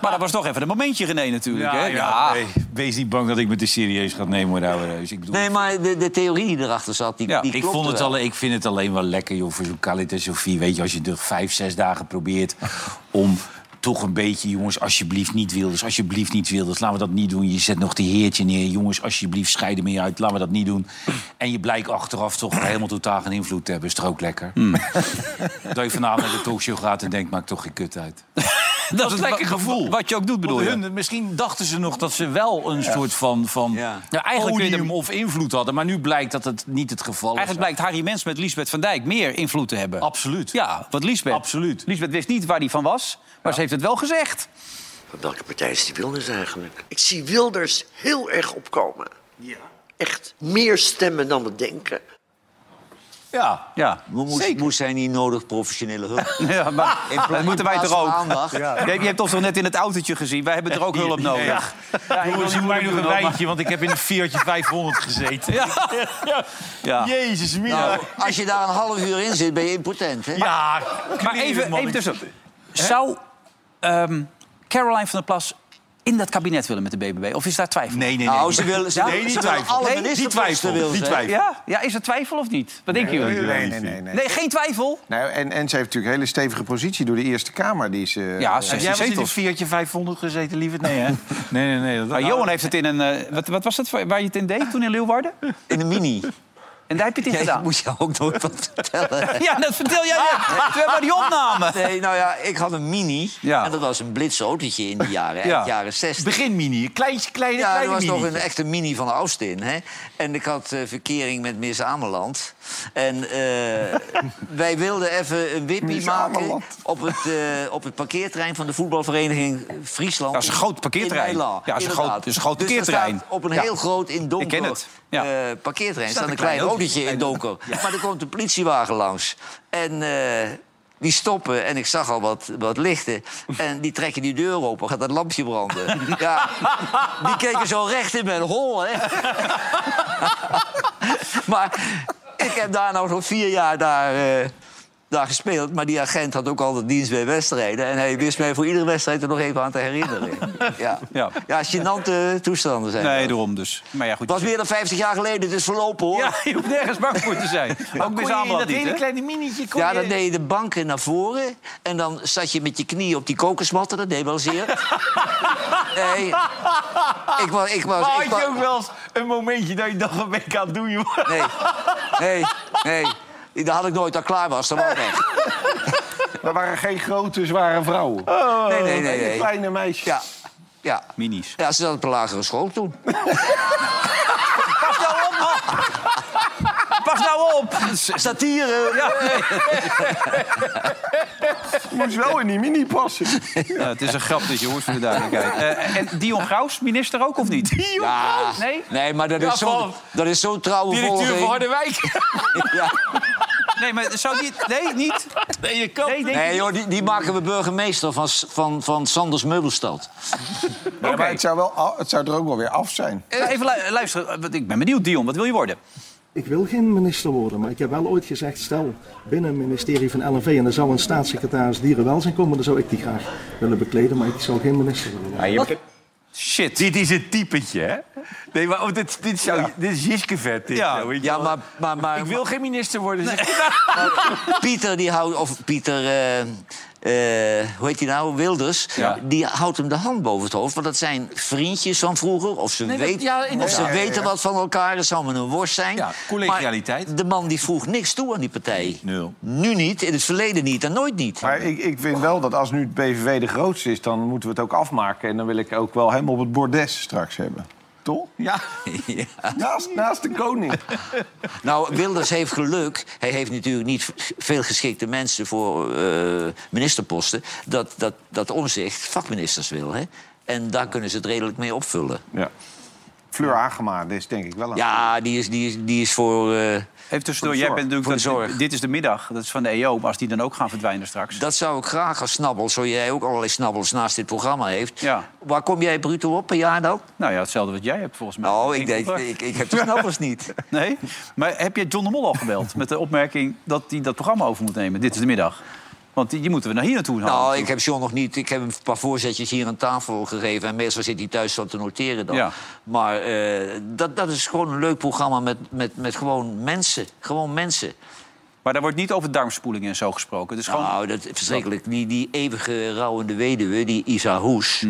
maar dat was toch even een momentje, René, natuurlijk. hè? Ja. nee, wees niet bang dat ik me te serieus ga nemen, hoor, ouwe reus. Ik bedoel, Nee, maar de, de theorie die erachter zat, die, die ik, klopte vond het wel. alleen, ik vind het alleen wel lekker, joh, voor zo'n Khalid Sofie. Weet je, als je er vijf, zes dagen probeert om toch een beetje... jongens, alsjeblieft niet Wilders, alsjeblieft niet Wilders. Laten we dat niet doen. Je zet nog die heertje neer. Jongens, alsjeblieft, scheiden me uit. Laten we dat niet doen. En je blijkt achteraf toch helemaal totaal geen invloed te hebben. Is toch ook lekker? Hmm. dat je vanavond naar de talkshow gaat en denkt, maakt toch geen kut uit. Dat is lekker gevoel. Wat je ook doet, bedoel Want je? hun, misschien dachten ze nog dat ze wel een soort van, van Ja, eigenlijk kun je podium of invloed hadden. Maar nu blijkt dat het niet het geval is. Eigenlijk blijkt Harry Mens met Liesbeth van Dijk meer invloed te hebben. Absoluut. Ja, want Liesbeth... Absoluut. Liesbeth wist niet waar die van was, maar ze heeft het wel gezegd. Van welke partij is die Wilders eigenlijk? Ik zie Wilders heel erg opkomen. Ja. Echt meer stemmen dan we denken. Ja, ja. Moest, moest zij niet nodig professionele hulp? Ja, maar In pla- dat in moeten wij plaats toch van ook? aandacht. Je, hebt- je hebt ons toch net in het autootje gezien? Wij hebben er ook hulp nodig. Ja. Ja, ik wil Jongens, ik niet moeilijk mij nog doen, een hoor, maar- wijntje, want ik heb in een Fiatje 500 gezeten. Ja. Ja. Jezus, Mina. Nou, als je daar een half uur in zit, ben je impotent, hè? Ja, Maar even, even tussen. Zou ehm, Caroline van der Plas in dat kabinet willen met de BBB? Of is daar twijfel? Nee, nee. Nou, ze willen- ze- nee, die twijfel. Nee, die twijfel, die twijfel. Ja? ja, is er twijfel of niet? Wat denken jullie? Nee, nee, nee, nee. Nee, geen twijfel. Nou, en, en ze heeft natuurlijk een hele stevige positie door de Eerste Kamer. Die ze, Ja, eh, ze- Heb jij wel in een Fiatje 500 gezeten, lieverd? Nee, hè? Nee, nee, nee. Dat, Maar Johan heeft het in een... eh, wat, wat was het voor- waar je het in deed toen in Leeuwarden? In een mini. En daar heb je het in Jij gedaan? moet je ook nooit wat vertellen. Ja, dat vertel jij net. Toen hebben we die opname. Nee, nou ja, ik had een mini. En dat was een blitsautootje in de jaren, Ja. eind jaren 60. Begin mini, een kleintje, kleine, ja, kleine er was mini. nog een echte mini van Austin. Hè? En ik had eh, verkering met Miss Ameland. En eh, wij wilden even een wippie maken op het, eh, op het parkeerterrein van de voetbalvereniging Friesland. Dat is een groot parkeerterrein. In Meiland, Ja, dat is een inderdaad. groot- is een groot Dus daar parkeerterrein. staat op een Ja. heel groot in donker Ik ken het. Ja. eh, parkeerterrein. staat Staat een een klein klein autootje in donker. Maar er komt een politiewagen langs. En eh, Die stoppen en ik zag al wat, wat lichten. En die trekken die deur open, gaat dat lampje branden. Ja, die keken zo recht in mijn hol. Hè. maar ik heb daar nou zo'n vier jaar daar, eh, daar gespeeld. Maar die agent had ook altijd dienst bij wedstrijden. En hij wist mij voor iedere wedstrijd er nog even aan te herinneren. Ja, ja. gênante toestanden zijn. Nee, daarom dus. Maar ja, goed. Het was meer dan 50 jaar geleden, het is verlopen hoor. Ja, je hoeft nergens bang voor te zijn. Ook bij Zandam niet, hè? minietje Ja, dan deed je de banken naar voren. En dan zat je met je knieën op die kokosmatten. Dat deed wel zeer. nee. Ik was... Ik was Maar ik Oh, had was, je ook wel eens een momentje dat je dacht, wat ben ik aan het doen, joh? Nee, nee, nee. Dat had ik nooit, dat ik klaar was. Dat was weg. Er waren geen grote, zware vrouwen. Oh. Nee, nee, nee. nee. Kleine meisjes. Ja. Ja. Minis. Ja, ze zat op een lagere school toen. Pas nou op, man. Pas nou op. Satire. Ja, Moest wel in die mini passen. Ja, het is een grap, dus jongens, voor de duidelijkheid. Eh, en Dion Graus, minister ook of niet? Dion Ja. Nee? Nee, maar dat Ja, is zo'n van- dat is zo'n trouwe Directeur van volging. Harderwijk. Ja. Nee, maar zou die... Nee, niet. Nee, je kan niet. Nee, joh, die, die maken we burgemeester van, S- van, van Sanders Meubelstad. Maar het, zou wel, al- het zou er ook wel weer af zijn. Eh, Even lu- luisteren, eh, want ik ben benieuwd, Dion, wat wil je worden? Ik wil geen minister worden, maar ik heb wel ooit gezegd... stel binnen het ministerie van LNV en er zou een staatssecretaris dierenwelzijn komen... dan zou ik die graag willen bekleden, maar ik zou geen minister willen worden. Shit. Dit is een typetje, hè? Nee, maar oh, dit, dit, zou, dit is Jiskevet. Dit, Ja. zo, weet je Ja, wel. maar, maar, maar, Ik wil geen minister worden. dus ik- Pieter, die houdt, of Pieter, eh, eh, hoe heet die nou, Wilders, Ja. die houdt hem de hand boven het hoofd. Want dat zijn vriendjes van vroeger, of ze, Nee, dat- weet- ja, of inderdaad. ze Ja, ja, ja. weten wat van elkaar, dat zou maar een worst zijn. Ja, collegialiteit. Maar de man die vroeg niks toe aan die partij. Nul. Nu niet, in het verleden niet en nooit niet. Maar ik, ik vind wel dat als nu het PVV de grootste is... dan moeten we het ook afmaken. En dan wil ik ook wel hem op het bordes straks hebben. Toch? Ja. Naast, naast de koning. Nou, Wilders heeft geluk. Hij heeft natuurlijk niet veel geschikte mensen voor eh, ministerposten. Dat, dat, dat omzicht vakministers wil, hè. En daar kunnen ze het redelijk mee opvullen. Ja. Fleur Hagema, dat is denk ik wel een... Ja, die is, die is, die is voor... eh, Even tussendoor, Voor de jij zorg. bent natuurlijk... Voor de dat- zorg. dit is de middag, dat is van de EO. Maar als die dan ook gaan verdwijnen straks... Dat zou ik graag als snabbel, zo jij ook allerlei snabbels naast dit programma heeft. Ja. Waar kom jij bruto op per jaar dan? Nou ja, hetzelfde wat jij hebt volgens mij. Nou, ik, denk, wel. ik, ik heb de snabbels niet. Nee? Maar heb je John de Mol al gebeld met de opmerking dat hij dat programma over moet nemen? Dit is de middag. Want die, die moeten we naar hier naartoe halen. Nou, ik heb John nog niet. Ik heb hem een paar voorzetjes hier aan tafel gegeven. En meestal zit hij thuis wat te noteren dan. Ja. Maar eh, dat, dat is gewoon een leuk programma met, met, met gewoon mensen. Gewoon mensen. Maar daar wordt niet over darmspoeling en zo gesproken. Het is gewoon... Nou, dat is verschrikkelijk. Die, die eeuwige rouwende weduwe, die Isa Hoes...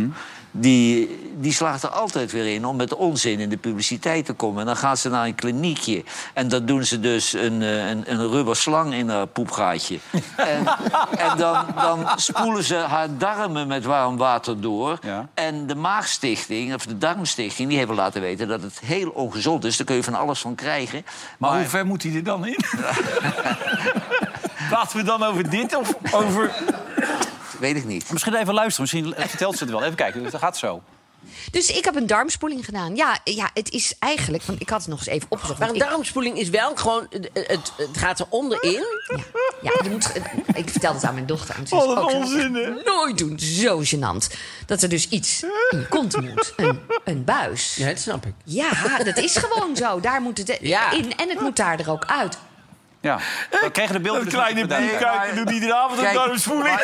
Die, die slaagt er altijd weer in om met onzin in de publiciteit te komen. En dan gaat ze naar een kliniekje. En dan doen ze dus een, eh, een, een rubber slang in haar poepgaatje. en en dan, dan spoelen ze haar darmen met warm water door. Ja. En de Maagstichting, of de Darmstichting, die hebben laten weten dat het heel ongezond is. Daar kun je van alles van krijgen. Maar, hoe ver moet hij er dan in? Laten we dan over dit of over... Weet ik niet. Misschien even luisteren, misschien vertelt ze het wel. Even kijken, dat gaat zo. Dus ik heb een darmspoeling gedaan. Ja, eh, ja het is eigenlijk... Want ik had het nog eens even opgezocht. Maar een want ik- darmspoeling is wel gewoon... Het, het, het gaat er onderin. ja, je moet, eh, ik vertel het aan mijn dochter. En ze Wat is een ook, "Dat moet je onzin, echt Nooit doen. Zo gênant. Dat er dus iets in je kont moet. Een, een buis. Ja, dat snap ik. Ja, dat is gewoon zo. Daar moet het eh, Ja. in en het moet daar er ook uit. Ja, we kregen de beelden Dat dus niet kleine vandaan. bierkuikje doet iedere avond een Kijk, darmspoeling.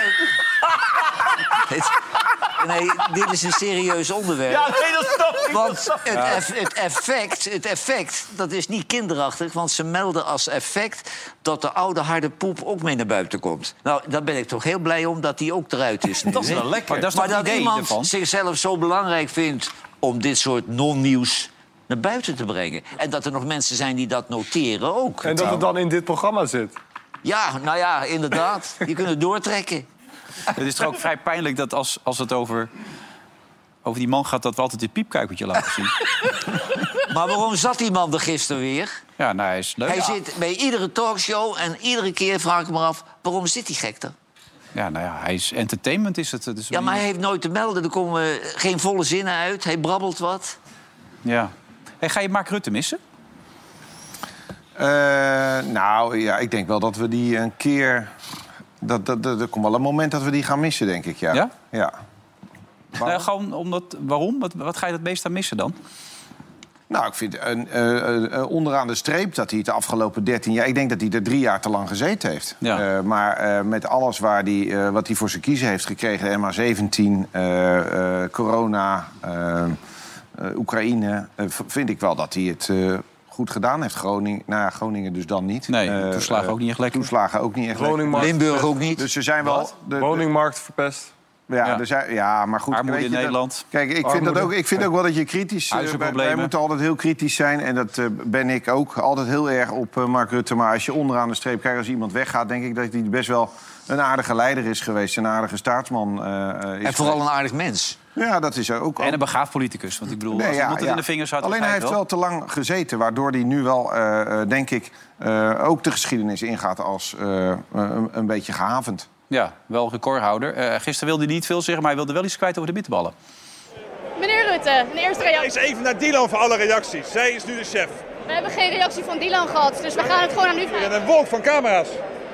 Nee, dit is een serieus onderwerp. Ja, nee, dat snap ik. Want het, eff- het, effect, het effect, dat is niet kinderachtig. Want ze melden als effect dat de oude harde poep ook mee naar buiten komt. Nou, daar ben ik toch heel blij om dat die ook eruit is. Nu, Dat is hè? wel lekker. Maar dat is maar toch het dat idee iemand ervan? zichzelf zo belangrijk vindt om dit soort non-nieuws naar buiten te brengen. En dat er nog mensen zijn die dat noteren ook. Nou, En dat het dan in dit programma zit. Ja, nou ja, inderdaad. Die kunnen doortrekken. Het is toch ook vrij pijnlijk dat als, als het over, over die man gaat... dat we altijd dit piepkuikertje laten zien. Maar waarom zat die man er gisteren weer? Ja, nou, hij is leuk. Hij Ja. zit bij iedere talkshow en iedere keer vraag ik me af... waarom zit die gek er? Ja, nou ja, hij is entertainment is het. Dus Ja, maar hij heeft nooit te melden. Er komen eh, geen volle zinnen uit. Hij brabbelt wat. Ja. Hey, ga je Mark Rutte missen? Eh, nou ja, ik denk wel dat we die een keer Dat, dat, dat, er komt wel een moment dat we die gaan missen, denk ik. Ja? Ja? ja. Nou, gewoon omdat, waarom? Wat, wat ga je het meest aan missen dan? Nou, ik vind een, eh, eh, onderaan de streep dat hij het de afgelopen 13 jaar... ik denk dat hij er drie jaar te lang gezeten heeft. Eh, maar eh, met alles waar die, eh, wat hij voor zijn kiezen heeft gekregen... MH17, eh, eh, corona, eh, eh, Oekraïne... eh, v- vind ik wel dat hij het eh, goed gedaan heeft. Groningen, nou, ja, Groningen dus dan niet. Nee, Eh, toeslagen ook niet echt lekker. Toeslagen ook niet echt Woningmarkt lekker. Limburg ook niet. Dus ze zijn wel... Wat? de- de- Woningmarkt verpest. ja, ja. ja, maar goed. Armoede weet in je, dat- Nederland. Kijk, ik vind, dat Armoede. ook, ik vind ook wel dat je kritisch... eh, wij- wij, Huizenproblemen. moeten altijd heel kritisch zijn. En dat eh, ben ik ook altijd heel erg op eh, Mark Rutte. Maar als je onderaan de streep kijkt, als iemand weggaat... denk ik dat hij best wel een aardige leider is geweest. Een aardige staatsman eh, eh, is En vooral een geweest. aardig mens. Ja, dat is ook... En een begaafd politicus. Want ik bedoel, Oh. Nee, als ja, iemand het ja. in de vingers had... Alleen hij heeft wel te lang gezeten, waardoor hij nu wel, eh, eh, denk ik, eh, ook de geschiedenis ingaat als eh, eh, een, een beetje gehavend. Ja, wel recordhouder. Eh, gisteren wilde hij niet veel zeggen, maar hij wilde wel iets kwijt over de bitterballen. Meneer Rutte, een eerste reactie. Eens even naar Dylan voor alle reacties. Zij is nu de chef. We hebben geen reactie van Dylan gehad, dus we gaan het gewoon aan u En vragen. een wolk van camera's.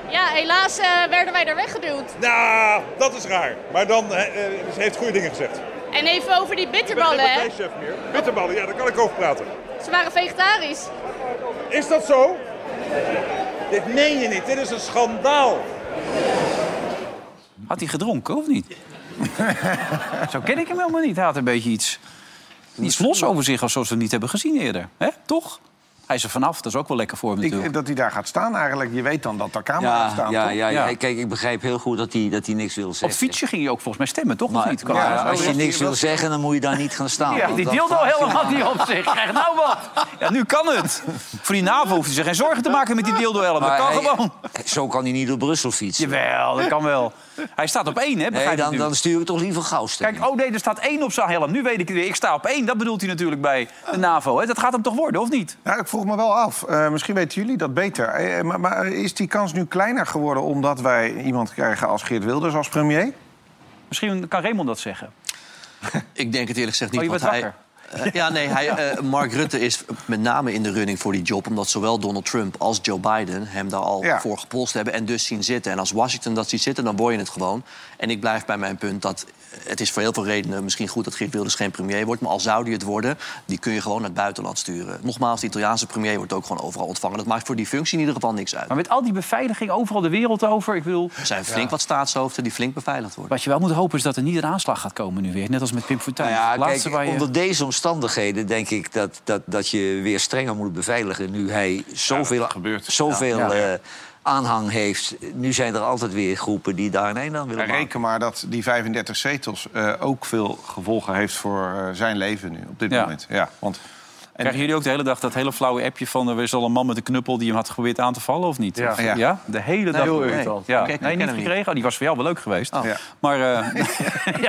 Ja, helaas eh, werden wij er weggeduwd. Nou, dat is raar. Maar dan eh, eh, ze heeft goede dingen gezegd. En even over die Ik ben bitterballen, geen hè. partijchef meer. Bitterballen, ja, daar kan ik over praten. Ze waren vegetarisch. Is dat zo? Dit meen je niet. Dit is een schandaal. Had hij gedronken, of niet? zo ken ik hem helemaal niet. Hij had een beetje iets, iets los over zich, als zoals we hem niet hebben gezien eerder. hè? Toch? Hij is er vanaf, dat is ook wel lekker voor hem natuurlijk. Ik, dat hij daar gaat staan eigenlijk. Je weet dan dat daar camera's Ja, staan. ja, toch? ja, ja. kijk, ik begrijp heel goed dat hij dat hij niks wil zeggen. Op fietsen ging je ook volgens mij stemmen, toch? of Maar, oh, niet? maar Ja, als zo je is niks hij wil wel. zeggen, dan moet je daar niet gaan staan. Ja, want die dan- dildo helemaal niet op zich. Krijg nou wat. Ja, nu kan het. Voor die NAVO hoeft hij zich geen zorgen te maken met die dildo helm. Dat Maar kan hij- gewoon. Zo kan hij niet door Brussel fietsen. Jawel, dat kan wel. Hij staat op één, hè? Nee, Begrijp dan, dan stuur ik toch liever Gauwsten. Kijk, oh nee, er staat één op zijn helm. Nu weet ik het weer. Ik sta op één. Dat bedoelt hij natuurlijk bij de NAVO. Hè? Dat gaat hem toch worden, of niet? Nou, ik vroeg me wel af. Eh, misschien weten jullie dat beter. Eh, maar, maar is die kans nu kleiner geworden omdat wij iemand krijgen als Geert Wilders als premier? Misschien kan Raymond dat zeggen. Ik denk het eerlijk gezegd niet. Oh, je want bent hij, Eh, ja, nee, hij, eh, Mark Rutte is met name in de running voor die job... omdat zowel Donald Trump als Joe Biden hem daar al Ja. voor gepolst hebben... en dus zien zitten. En als Washington dat ziet zitten, dan word je het gewoon. En ik blijf bij mijn punt dat het is voor heel veel redenen... misschien goed dat Geert Wilders geen premier wordt... maar al zou die het worden, die kun je gewoon naar het buitenland sturen. Nogmaals, de Italiaanse premier wordt ook gewoon overal ontvangen. Dat maakt voor die functie in ieder geval niks uit. Maar met al die beveiliging overal de wereld over, ik bedoel... Er zijn flink wat staatshoofden die flink beveiligd worden. Wat je wel moet hopen is dat er niet een aanslag gaat komen nu weer. Net als met Pim Fortuyn. Nou Ja, Het laatste kijk, waar je- onder deze omstandigheden denk ik dat, dat, dat je weer strenger moet beveiligen. Nu hij zoveel, zoveel Ja. eh, aanhang heeft. Nu zijn er altijd weer groepen die daar een einde aan willen maken. Reken maar dat die 35 zetels eh, ook veel gevolgen heeft voor eh, zijn leven nu op dit Ja. moment. Ja, want Krijgen jullie ook de hele dag dat hele flauwe appje van... er is al een man met een knuppel die hem had geprobeerd aan te vallen, of niet? Ja. Of- Ja. De hele dag. Nee, heel door. irritant. Ja. Kijk, ik nee, ken niet hem niet. gekregen. Oh, die was voor jou wel leuk geweest. Ja. Maar eh,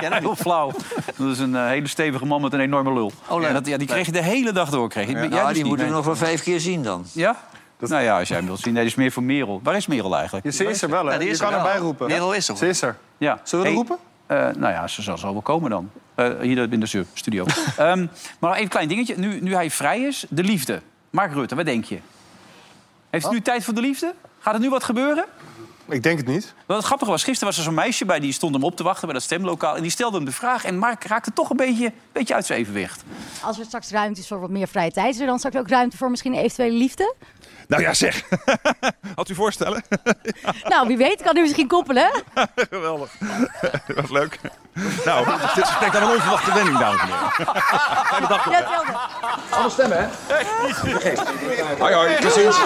ja, heel flauw. Dat is een eh, hele stevige man met een enorme lul. leuk. En dat, ja, die kreeg je de hele dag door. Kreeg. je. Jij nou, dus die niet, moeten we nee. nog wel vijf keer zien dan. Ja? Nou ja, als jij hem wilt zien. Nee, die is meer voor Merel. Waar is Merel eigenlijk? Ja, ze is er wel, hè? Ja, die je is kan er wel. erbij roepen. Merel is er. Ze is er. Ja. Zullen we Hey, roepen? eh, nou ja, ze zal zo wel komen dan. Eh, hier in de su- studio. Ehm, maar even een klein dingetje. Nu, nu hij vrij is, de liefde. Mark Rutte, wat denk je? Heeft Oh. het nu tijd voor de liefde? Gaat er nu wat gebeuren? Ik denk het niet. Wat het grappige was, gisteren was er zo'n meisje bij... die stond hem op te wachten bij dat stemlokaal... en die stelde hem de vraag en Mark raakte toch een beetje, beetje uit zijn evenwicht. Als er straks ruimte is voor wat meer vrije tijd, is er dan straks ook ruimte voor misschien een eventuele liefde? Nou ja, zeg. Had u voorstellen? Nou, wie weet kan u misschien koppelen. Geweldig. Dat was leuk. Nou, dit gesprek had een onverwachte wending, dames en heren. Fijne dag. nog, hè. Allemaal stemmen, hè? Hoi, hoi. Tot ziens.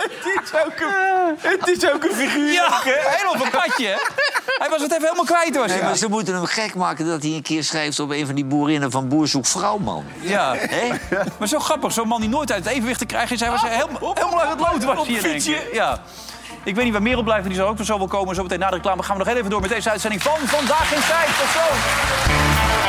Het is ook een, het is ook een figuur. Ja, helemaal van katje. hè? Hij was het even helemaal kwijt, was Nee, hij. maar ze moeten hem gek maken dat hij een keer schrijft op een van die boerinnen van Boer zoekt vrouw, man. Ja, maar zo grappig. Zo'n man die nooit uit het evenwicht te krijgen is. Hij Ah, was helemaal, helemaal uit het lood. Was hier, denk ik. Ja. Ik weet niet waar Merel blijft, maar die zal ook nog zo wel komen. Zometeen na de reclame gaan we nog heel even door met deze uitzending van Vandaag in Tijd. Tot zo!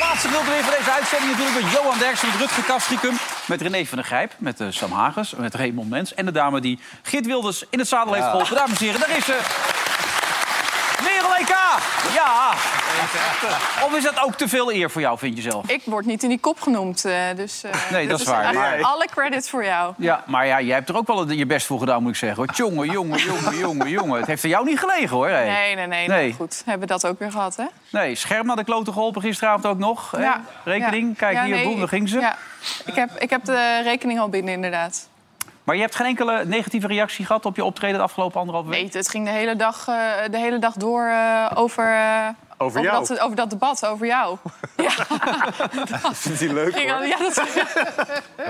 Laatste gedeelte weer van deze uitzending natuurlijk met Johan Derksen, met Rutger Kastricum, met René van der Grijp, met eh, Sam Hagens, met Raymond Mens en de dame die Git Wilders in het zadel heeft Ja. geholpen. Dames en heren, daar is ze. Merel EK! Ja! Of is dat ook te veel eer voor jou, vind je zelf? Ik word niet in die kop genoemd, eh, dus... eh, Nee, dit dat is waar, echt maar- Alle credits voor jou. Ja, maar ja, jij hebt er ook wel het- je best voor gedaan, moet ik zeggen. Hoor. Jongen, jongen, jongen, jongen, jongen. Het heeft aan jou niet gelegen, hoor. hé. Nee, nee, nee. Nou, goed, hebben we dat ook weer gehad, hè? Nee, scherm naar de klote geholpen gisteravond ook nog. hè? Ja, Rekening, ja. kijk Ja, hier, nee, boem, daar ging ze. ja. Ik, heb, ik heb de rekening al binnen, inderdaad. Maar je hebt geen enkele negatieve reactie gehad op je optreden de afgelopen anderhalve week? Nee, het ging de hele dag, eh, de hele dag door eh, over... eh, Over jou. Dat, over dat debat, over jou. Vindt hij leuk, Ging al- ja, dat-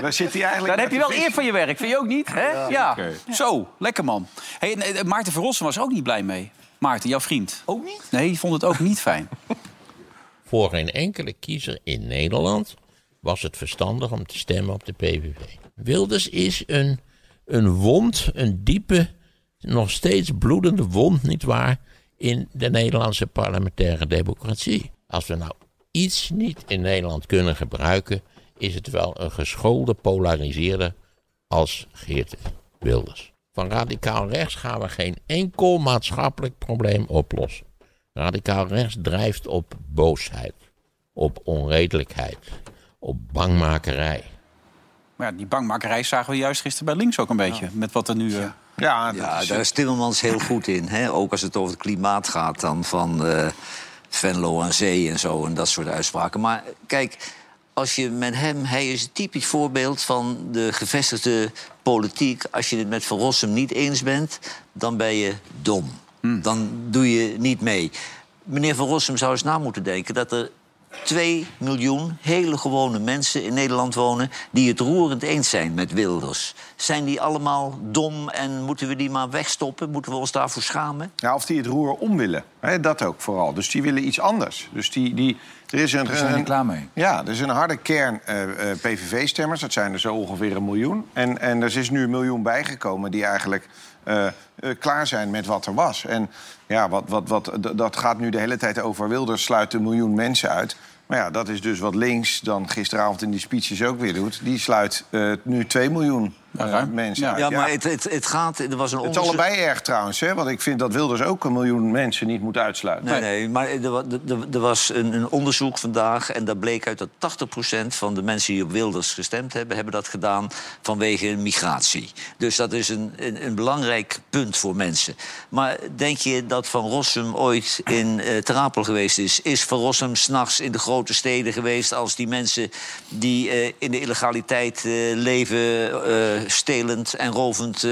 Daar zit hij eigenlijk... Dan heb je wel eerst eer van je werk, vind je ook niet? Hè? Ja, oké. zo, lekker man. Hey, en, eh, Maarten Verrossen was ook niet blij mee. Maarten, jouw vriend. Ook niet? Nee, die vond het ook niet fijn. Voor geen enkele kiezer in Nederland was het verstandig om te stemmen op de PVV. Wilders is een, een wond, een diepe, nog steeds bloedende wond, nietwaar, in de Nederlandse parlementaire democratie. Als we nou iets niet in Nederland kunnen gebruiken, is het wel een geschoolde polariseerder als Geert Wilders. Van radicaal rechts gaan we geen enkel maatschappelijk probleem oplossen. Radicaal rechts drijft op boosheid, op onredelijkheid, op bangmakerij. Maar ja, die bangmakerij zagen we juist gisteren bij links ook een beetje. Met wat er nu... eh, Ja, Ja, daar is Timmermans heel goed in. Hè? Ook als het over het klimaat gaat, dan van eh, Venlo aan zee en zo en dat soort uitspraken. Maar kijk, als je met hem, hij is een typisch voorbeeld van de gevestigde politiek. Als je het met Van Rossum niet eens bent, dan ben je dom. Dan doe je niet mee. Meneer Van Rossum zou eens na moeten denken dat er 2 miljoen hele gewone mensen in Nederland wonen... die het roerend eens zijn met Wilders. Zijn die allemaal dom en moeten we die maar wegstoppen? Moeten we ons daarvoor schamen? Ja, of die het roer om willen. Hè, dat ook vooral. Dus die willen iets anders. Dus die, die, er is een, Daar zijn een- we klaar mee. Ja, er is een harde kern eh, eh, PVV-stemmers. Dat zijn er zo ongeveer een miljoen. En, en er is nu een miljoen bijgekomen die eigenlijk eh, eh, klaar zijn met wat er was. En ja, wat, wat, wat, d- dat gaat nu de hele tijd over Wilders sluit een miljoen mensen uit. Maar ja, dat is dus wat links dan gisteravond in die speeches ook weer doet. Die sluit eh, nu 2 miljoen eh, mensen Ja, uit. maar het, het, het gaat... Er was een Het is onderzoek- allebei erg trouwens, hè? want ik vind dat Wilders ook een miljoen mensen niet moet uitsluiten. Nee, nee, maar er, wa- er- er- er was een, een onderzoek vandaag... en daar bleek uit dat 80% van de mensen die op Wilders gestemd hebben... hebben dat gedaan vanwege migratie. Dus dat is een, een, een belangrijk punt voor mensen. Maar denk je dat Van Rossum ooit in eh Terapel geweest is? Is Van Rossum s'nachts in de grote steden geweest... als die mensen die eh, in de illegaliteit eh, leven... eh, stelend en rovend eh,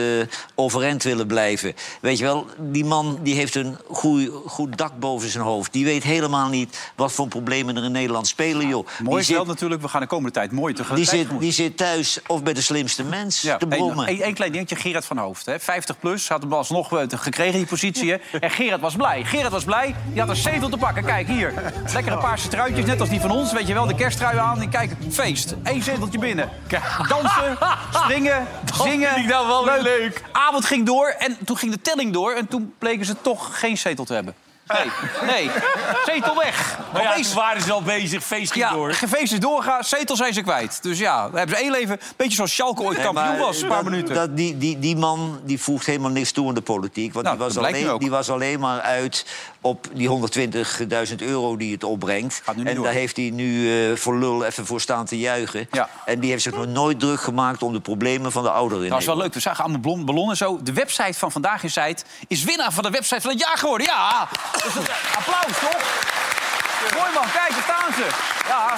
overeind willen blijven? Weet je wel, die man die heeft een goed, goed dak boven zijn hoofd. Die weet helemaal niet wat voor problemen er in Nederland spelen, joh. Mooi die is wel natuurlijk, we gaan de komende tijd mooi die tegelijk. zit, die zit thuis of bij de slimste mens te brommen. Eén klein dingetje, Gerard van Hoofd. Hè. 50 plus, had hem alsnog eh, gekregen die positie. Hè. En Gerard was blij. Gerard was blij, die had een zetel te pakken. Kijk, hier. Lekkere paarse truitjes, net als die van ons. Weet je wel, de kersttrui aan. En kijk, feest. Eén zeteltje binnen. Dansen, springen, zingen. vind ik nou wel weer leuk. Avond ging door en toen ging de telling door. En toen bleken ze toch geen zetel te hebben. Nee, nee. Zetel weg. Maar ja, Opeens toen waren ze al bezig, feest ging ja, door. Gefeest is doorgaan, zetel zijn ze kwijt. Dus ja, dan hebben ze één leven. Beetje zoals Schalke ooit Nee, kampioen maar was, een paar dat- minuten. Dat, die, die, die man die voegt helemaal niks toe aan de politiek. Want die, was Nou, dat blijkt nu alleen, ook. die was alleen maar uit op die 120.000 euro die het opbrengt. nu niet En door. daar heeft hij nu eh, voor lul even voor staan te juichen. En die heeft zich nog nooit druk gemaakt om de problemen van de ouderen in Dat was wel leuk. We zagen allemaal blon- ballonnen zo. De website van Vandaag in Zijt is winnaar van de website van het jaar geworden. Ja! Dus dat- applaus, toch? Mooi man, kijk, daar staan ze. Ja,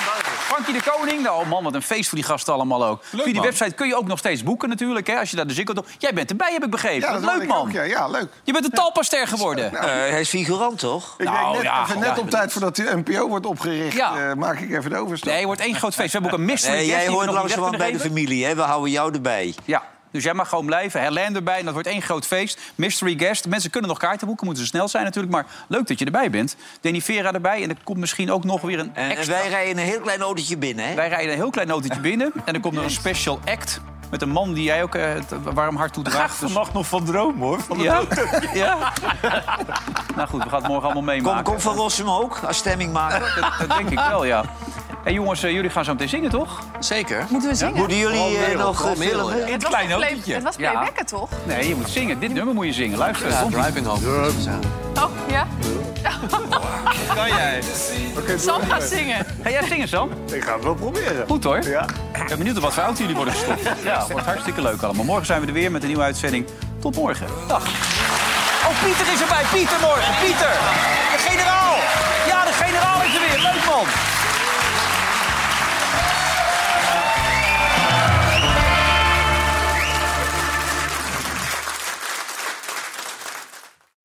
Frankie de Koning. Nou, man, wat een feest voor die gasten allemaal ook. Via die man. website kun je ook nog steeds boeken natuurlijk, hè, als je daar de zikkel... Jij bent erbij, heb ik begrepen. Ja, Wat dat hoorde leuk, ik man. ook, ja. Ja, leuk. Je bent een talpaster geworden. Eh, hij is figurant, toch? Ik Nou, denk net, ja, even ja. net op tijd voordat de NPO wordt opgericht, Ja. eh, maak ik even de overstap. Nee, het wordt één groot feest. We hebben ook een mystery Nee, guest jij die we hoort nog niet weg langzamerhand bij de kunnen familie, hè? We houden jou erbij. Ja, dus jij mag gewoon blijven. Herlijn erbij en dat wordt één groot feest. Mystery guest. Mensen kunnen nog kaarten boeken, moeten ze snel zijn natuurlijk. Maar leuk dat je erbij bent. Danny Vera erbij en er komt misschien ook nog weer een En, en extra... wij rijden een heel klein autootje binnen, hè? Wij rijden een heel klein notetje binnen en er komt nog een special act... met een man die jij ook eh, het warm hart toedraagt. Dus... Vannacht nog van droom, hoor. Van de Ja? auto. ja? Nou goed, we gaan het morgen allemaal meemaken. Kom, kom Van Rossum ook als stemming maken. Dat denk ik wel, ja. Hey, jongens, eh, jullie gaan zo meteen zingen, toch? Zeker. Moeten we zingen? Moeten jullie, eh, nog, eh, filmen? filmen? Het Dit was kleine play- hoofdje. het was playbacken, toch? Nee, je moet zingen. Dit nummer moet je zingen. Luister. Ja, driving home. Oh, ja. Kan jij? Sam gaat zingen. Ga jij zingen, Sam? Ik ga het wel proberen. Goed hoor. Ik ben benieuwd op wat voor auto jullie worden gestopt. Ja, wordt hartstikke leuk allemaal. Morgen zijn we er weer met een nieuwe uitzending. Tot morgen. Dag. Oh, Pieter is erbij. Pieter morgen. Pieter. De generaal. Ja, de generaal is er weer. Leuk man.